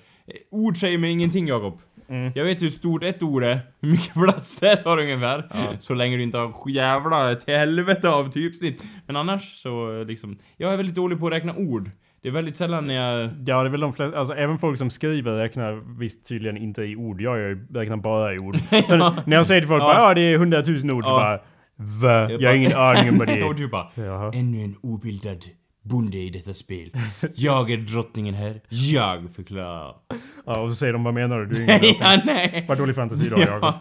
S2: Ord säger mig ingenting Jakob.
S1: Mm.
S2: Jag vet hur stort ett ord är, hur mycket plats det tar ungefär. Så länge du inte har jävla ett helvete av typsnitt. Men annars så eh, liksom, jag är väldigt dålig på att räkna ord. Det är väldigt sällan när jag...
S1: Ja, det är väl de flesta, alltså även folk som skriver räknar visst tydligen inte i ord. Jag gör ju- räknar bara
S2: *laughs*
S1: i ord. Så när jag säger till folk
S2: Ja.
S1: bara ja det är 100 000 ord så
S2: Ja.
S1: bara V, jag
S2: bara-
S1: har ingen aning om vad
S2: *laughs*
S1: det
S2: Och
S1: är.
S2: du bara...
S1: Jaha.
S2: Ännu en obildad bonde i
S1: *laughs*
S2: detta spel. Jag är drottningen här. Jag förklarar.
S1: Ja, och så säger de vad menar du? Du är ingen drottning."
S2: *laughs* ja, nej!
S1: Vad dålig fantasi du
S2: *laughs*
S1: har Jakob.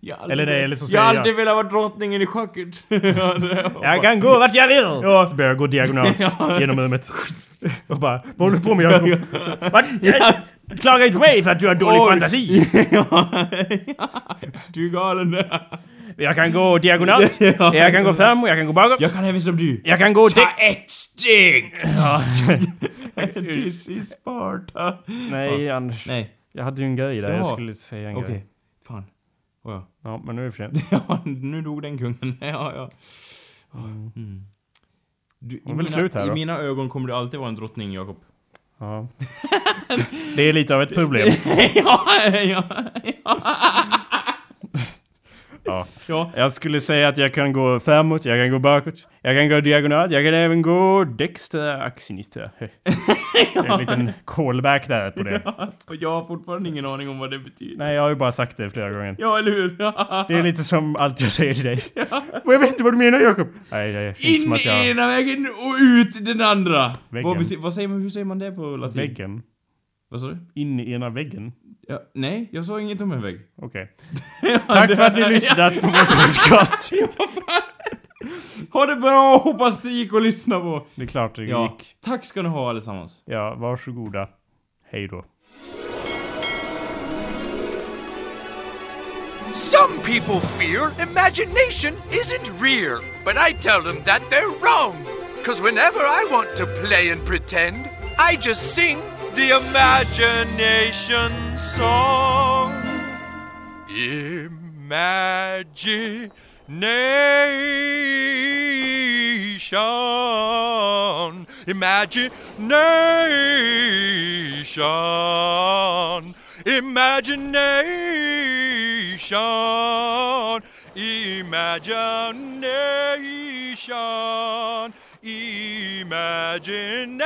S2: jag
S1: Eller liksom
S2: har aldrig-
S1: nej, eller så
S2: jag
S1: säger
S2: har
S1: jag-
S2: alltid velat vara drottningen i schacket. *laughs* Ja, det-
S1: Jag kan gå vart jag vill! Ja. Så börjar jag gå
S2: *laughs*
S1: diagonalt genom rummet. Och bara, vad håller du på med Jakob? Vad? Klaga inte på mig för att du har dålig
S2: Oj.
S1: fantasi!
S2: *laughs* Du är galen.
S1: Jag kan gå diagonalt,
S2: *laughs* Ja.
S1: jag kan gå fram och jag kan gå bakåt.
S2: Jag kan även som du.
S1: Jag kan gå...
S2: Ta ett steg!
S1: Ja.
S2: *laughs* This is Sparta.
S1: Nej Anders,
S2: Nej,
S1: jag hade ju en grej där.
S2: Jaha.
S1: Jag skulle säga en
S2: okej.
S1: grej.
S2: Fan. Oh, *laughs* ja.
S1: Ja, men nu är det för sent.
S2: ja, nu dog den kungen. *laughs* ja, ja. Mm. Du, i,
S1: väl
S2: mina,
S1: slut här
S2: I
S1: då.
S2: mina ögon kommer du alltid vara en drottning, Jakob.
S1: Ja. Det är lite av ett problem.
S2: *laughs* ja, ja,
S1: *laughs* Ja.
S2: ja.
S1: Jag skulle säga att jag kan gå framåt, jag kan gå bakåt, jag kan gå diagonalt, jag kan även gå dextra axinistra. *laughs* Det är en liten callback där på det.
S2: Och jag har fortfarande ingen aning om vad det betyder.
S1: Nej, jag har ju bara sagt det flera gånger.
S2: Ja, eller hur?
S1: Det
S2: *laughs*
S1: är lite som allt jag säger till dig. Och jag vet inte vad du menar Jakob. Nej, det känns som
S2: In
S1: att
S2: i
S1: jag...
S2: ena vägen och ut den andra!
S1: Väggen.
S2: Vad, bety- vad säger man, hur säger man det på latin?
S1: Väggen.
S2: Vad sa du?
S1: In i ena väggen.
S2: Ja, nej, jag sa inget om en vägg.
S1: Okej.
S2: *laughs*
S1: Tack för att ni lyssnat på vår podcast.
S2: Ha det bra! Hoppas det gick att lyssna på.
S1: Det är klart det
S2: Ja,
S1: gick.
S2: tack ska ni ha allesammans.
S1: Ja, varsågoda. Hej då.
S3: Some people fear imagination isn't real, but I tell them that they're wrong. Because whenever I want to play and pretend, I just sing the imagination song. Imagination. Imagination. Imagination. Imagination. Imagination.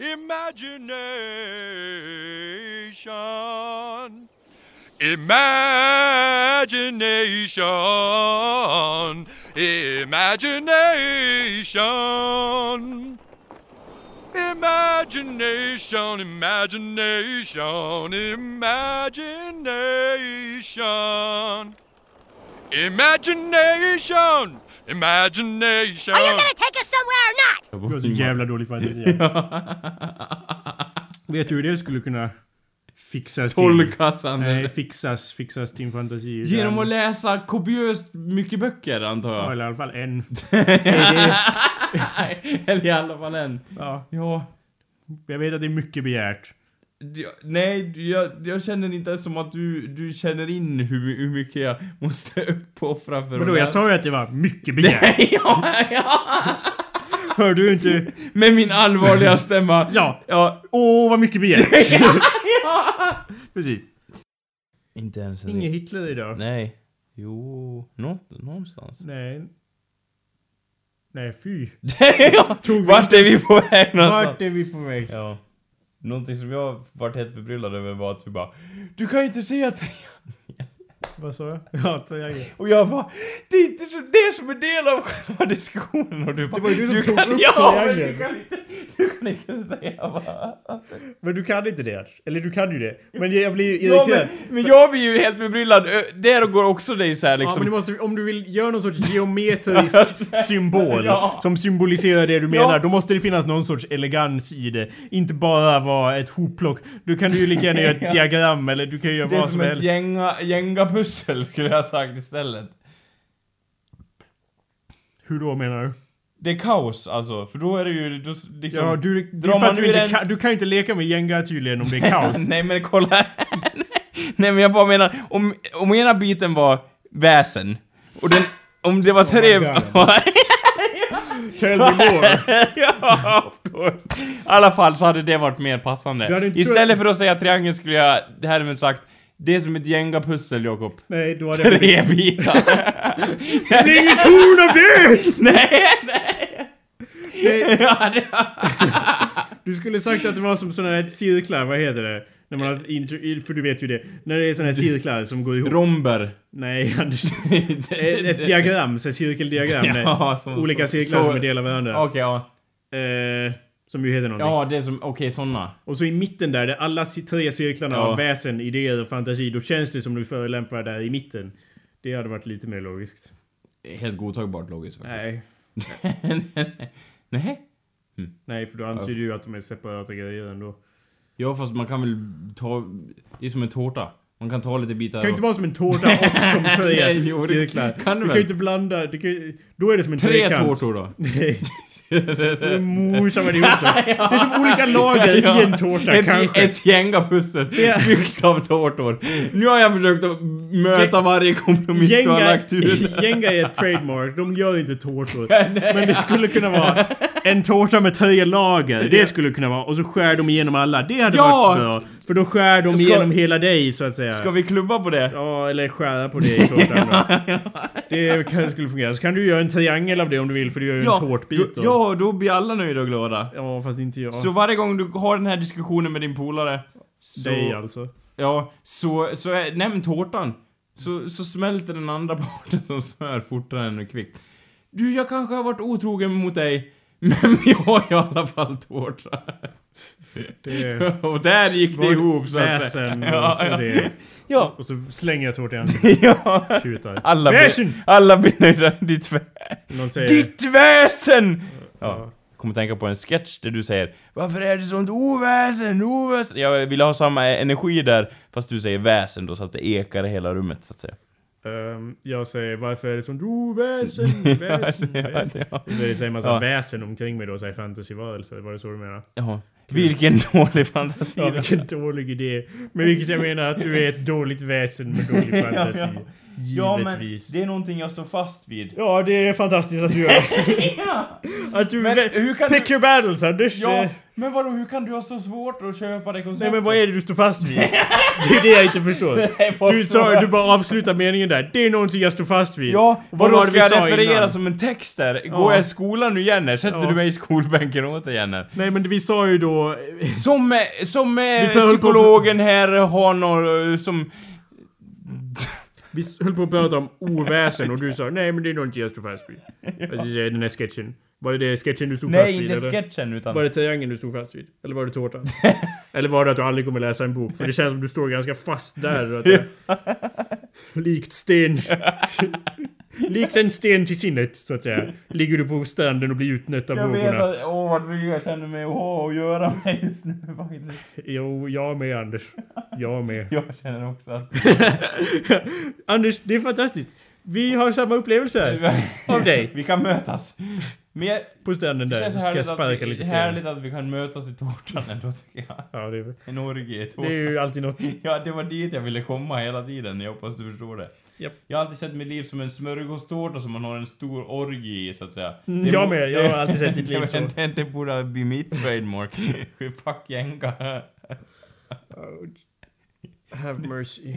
S3: Imagination. Imagination. Imagination. Imagination, imagination, imagination. Imagination, imagination.
S4: Are you gonna take us somewhere or not?
S1: dålig *laughs* fantasi. Vet du hur det skulle kunna fixas
S2: Tolkas han
S1: Nej, fixas, fixas din fantasi.
S2: Genom
S1: Den-
S2: att läsa kopiöst mycket böcker antar
S1: Ja,
S2: jag.
S1: eller i alla fall *laughs* en. Är det-
S2: *laughs* Eller i alla fall en.
S1: ja,
S2: Ja.
S1: jag vet att det är mycket begärt.
S2: Jag- Nej, jag, jag känner inte som att du, du känner in hur, hur mycket jag måste *laughs* uppoffra för
S1: Men då, jag
S2: att lära-
S1: sa ju att det var mycket begärt. *laughs*
S2: ja, ja.
S1: Hör du inte?
S2: Med min allvarliga stämma.
S1: *laughs* Ja.
S2: ja.
S1: Åh, vad mycket *laughs* begärt.
S2: Precis. Inte ens en
S1: Ingen Hitler idag.
S2: Nej. Jo. Nå,
S1: *laughs*
S2: någonstans.
S1: Nej. Nej, fy.
S2: ja.
S1: Tog vi
S2: Vart är vi på väg någonstans?
S1: Vart är vi på väg?
S2: Ja. Någonting som jag vart helt förbryllad över var att du bara Du kan ju inte se att...
S1: Vad sa jag? Ja, så jag
S2: Och jag bara Det är inte så, det som är del av själva diskussionen och du bara
S1: var ju du som tog
S2: kan,
S1: upp
S2: ja, men
S1: triangeln."
S2: du kan inte, du kan inte säga bara.
S1: Men du kan inte det. Eller du kan ju det. Men jag blir ju
S2: Ja,
S1: irriterad.
S2: men, men jag blir ju helt förbryllad. Ö, Där går också dig så här
S1: Ja,
S2: liksom.
S1: men du måste, om du vill göra någon sorts *laughs* geometrisk symbol
S2: Ja.
S1: som symboliserar det du menar,
S2: Ja.
S1: då måste det finnas någon sorts elegans i det. Inte bara vara ett hopplock. Du kan ju lika gärna *laughs* göra ett diagram eller du kan ju göra
S2: det är
S1: vad
S2: som,
S1: som
S2: ett
S1: helst.
S2: gänga, gänga-pussel skulle jag ha sagt istället.
S1: Hur då menar du?
S2: Det är kaos alltså, för då är det ju då, s- liksom...
S1: Ja, du, det är
S2: drar
S1: för
S2: man
S1: att du,
S2: ur
S1: inte
S2: en-
S1: kan, du kan ju inte leka med Jenga tydligen om det *laughs* är kaos.
S2: *laughs* Nej men kolla. *laughs* Nej men jag bara menar, om, om ena biten var väsen och den, om det var tre...
S1: Oh God. Tell me more.
S2: *laughs*
S1: *laughs*
S2: ja, of course. I alla fall så hade det varit mer
S1: Du hade
S2: passande.
S1: inte
S2: Istället för att säga triangel skulle jag härmed sagt det är som ett Jenga-pussel, Jakob.
S1: *laughs* Nej, då hade jag...
S2: Tre bitar.
S1: *laughs* Det är inget torn av det!
S2: nej,
S1: Nej,
S2: ja, det...
S1: *laughs* Du skulle sagt att det var som såna här cirklar, vad heter det? När man har ett intro, för du vet ju det. När det är såna här cirklar som går ihop.
S2: *laughs* Romber.
S1: Nej, Anders. Ett, ett diagram, så här cirkeldiagram med
S2: Ja, som-
S1: olika
S2: som-
S1: cirklar
S2: så-
S1: som är delar av varandra.
S2: Okej, ja.
S1: Eh, som ju heter någonting.
S2: Ja, det är som... Okej, såna.
S1: Och så i mitten där, där alla ci- tre cirklarna
S2: Ja.
S1: har väsen, idéer och fantasi, då känns det som du förolämpar där i mitten. Det hade varit lite mer logiskt.
S2: Helt godtagbart logiskt faktiskt.
S1: Nej.
S2: *laughs* Nej.
S1: Nej, för då antyder ju att de är separata grejer ändå.
S2: Ja fast man kan väl ta... Det är som en tårta. Man kan ta lite bitar
S1: Det kan ju inte vara som en tårta
S2: *laughs*
S1: och som tre
S2: Nej, jo, det
S1: cirklar.
S2: kan du
S1: du kan
S2: väl?
S1: ju inte blanda. Du kan, ju- då är det som en
S2: Tre
S1: trekant.
S2: tårtor då.
S1: *laughs*
S2: *laughs*
S1: Nej. Då mosar man ihop dem. Det är som olika lager i en tårta
S2: ett,
S1: kanske.
S2: Ett Jenga-pussel
S1: Ja.
S2: byggt av tårtor. Nu har jag försökt att möta
S1: Jä-
S2: varje kompromiss du har
S1: Jenga,
S2: lagt
S1: *laughs*
S2: ut.
S1: Jenga är ett trademark, de gör inte
S2: *laughs*
S1: tårtor. Men det skulle kunna vara en tårta med tre lager. Det skulle kunna vara. Och så skär de igenom alla. Det hade
S2: Ja!
S1: varit bra. För då skär de
S2: Ska-
S1: igenom hela dig så att säga.
S2: Ska vi klubba på det?
S1: Ja, eller skära på det i
S2: *laughs*
S1: tårtan då. Det kanske skulle fungera. Så kan du göra en triangel av det om du vill, för du gör ju en tårtbit
S2: då,
S1: då.
S2: ja, då blir alla nöjda och glada.
S1: Ja, fast inte jag.
S2: Så varje gång du har den här diskussionen med din polare... Så,
S1: Dig alltså.
S2: Ja, så, så är, nämn tårtan. Så, så smälter den andra *laughs* parten som smör fortare än kvickt. Du, *laughs* jag kanske har varit otrogen mot dig, men jag har i alla fall tårta. *laughs*
S1: Det
S2: Och där gick det ihop så att
S1: Väsen
S2: säga.
S1: och, och det.
S2: *laughs* ja.
S1: Och så slänger jag ett hårt
S2: *laughs*
S1: i handen.
S2: ja.
S1: Tjutar.
S2: Alla blir,
S1: Väsen!
S2: alla blir nöjda. Ditt, vä-
S1: Någon säger...
S2: ditt väsen! Ja. Kommer tänka på en sketch där du säger Varför är det sånt oväsen, oväsen? Jag ville ha samma e- energi där, fast du säger väsen då så att det ekar i hela rummet så att säga.
S1: Ehm, jag säger varför är det sånt oväsen, väsen,
S2: *laughs* Ja,
S1: väsen.
S2: ja.
S1: Det säger en massa
S2: Ja.
S1: väsen omkring mig då, säger fantasyvarelser. Var det så du menade?
S2: Jaha. Vilken dålig fantasi.
S1: Ja, vilken dålig idé. Men vilket jag menar att du är ett dåligt väsen med dålig fantasi.
S2: *laughs* Ja, Ja, men
S1: Givetvis.
S2: det är någonting jag står fast vid.
S1: Ja, det är fantastiskt att du gör. *laughs* Att du...
S2: Men
S1: vä-
S2: hur kan
S1: Pick
S2: du-
S1: your battles, Anders.
S2: Ja,
S1: Eh,
S2: men vadå, hur kan du ha så svårt att köpa det
S1: Nej
S2: konceptet?
S1: men vad är det du står fast vid? Det är det jag inte förstår.
S2: *laughs* Nej, vad
S1: Du,
S2: frågar-
S1: sa, du bara avslutar meningen där. Det är någonting jag står fast vid.
S2: Ja,
S1: Och
S2: vadå
S1: var det
S2: ska
S1: vi
S2: jag
S1: sa
S2: referera
S1: innan?
S2: som en text där? Går jag i skolan nu igen? här? Sätter
S1: Ja.
S2: du mig i skolbänken åter igen? här?
S1: Nej men vi sa ju då...
S2: Som, eh, som eh,
S1: behöver på-
S2: psykologen här har någon eh, som...
S1: Vi s- höll på att prata om oväsen och du sa nej men det är någonting jag står fast
S2: *laughs*
S1: vid. Alltså, den här sketchen. Var det det sketchen du stod fast
S2: Nej,
S1: vid?
S2: inte
S1: eller?
S2: sketchen utan...
S1: Var det triangeln du stod fast vid? Eller var det tårtan?
S2: *laughs*
S1: eller var det att du aldrig kommer läsa en bok? För det känns som du står ganska fast där. och Att
S2: *laughs*
S1: jag... Likt sten. *laughs* Likt en sten till sinnet, så att säga. Ligger du på stranden och blir utnött av
S2: jag vet
S1: vågorna.
S2: att... Åh, vad dryg jag känner mig att ha att göra med just nu faktiskt.
S1: Jo, jag med Anders. Jag med.
S2: *laughs* Jag känner också att...
S1: *laughs* Anders, det är fantastiskt. Vi har samma upplevelse här. *laughs* Av dig.
S2: Vi kan mötas. Men jag...
S1: På stranden
S2: Det
S1: där.
S2: känns
S1: Ska jag
S2: härligt,
S1: sparka
S2: att,
S1: lite
S2: vi,
S1: sten.
S2: härligt att vi kan mötas i tårtan ändå tycker jag.
S1: Ja, det, är-
S2: En orgie i
S1: det är
S2: tårtan.
S1: ju alltid något.
S2: Ja, det var dit jag ville komma hela tiden. Jag hoppas du förstår det.
S1: Japp.
S2: Jag har alltid sett mitt liv som en smörgåstårta som man har en stor orgie i, så att säga.
S1: Mm,
S2: Det
S1: jag
S2: bo-
S1: med.
S2: *laughs*
S1: Jag har alltid sett ditt
S2: det-
S1: liv så.
S2: Det, det borde bli mitt trademark. *laughs* Fuck jänka.
S1: Have mercy.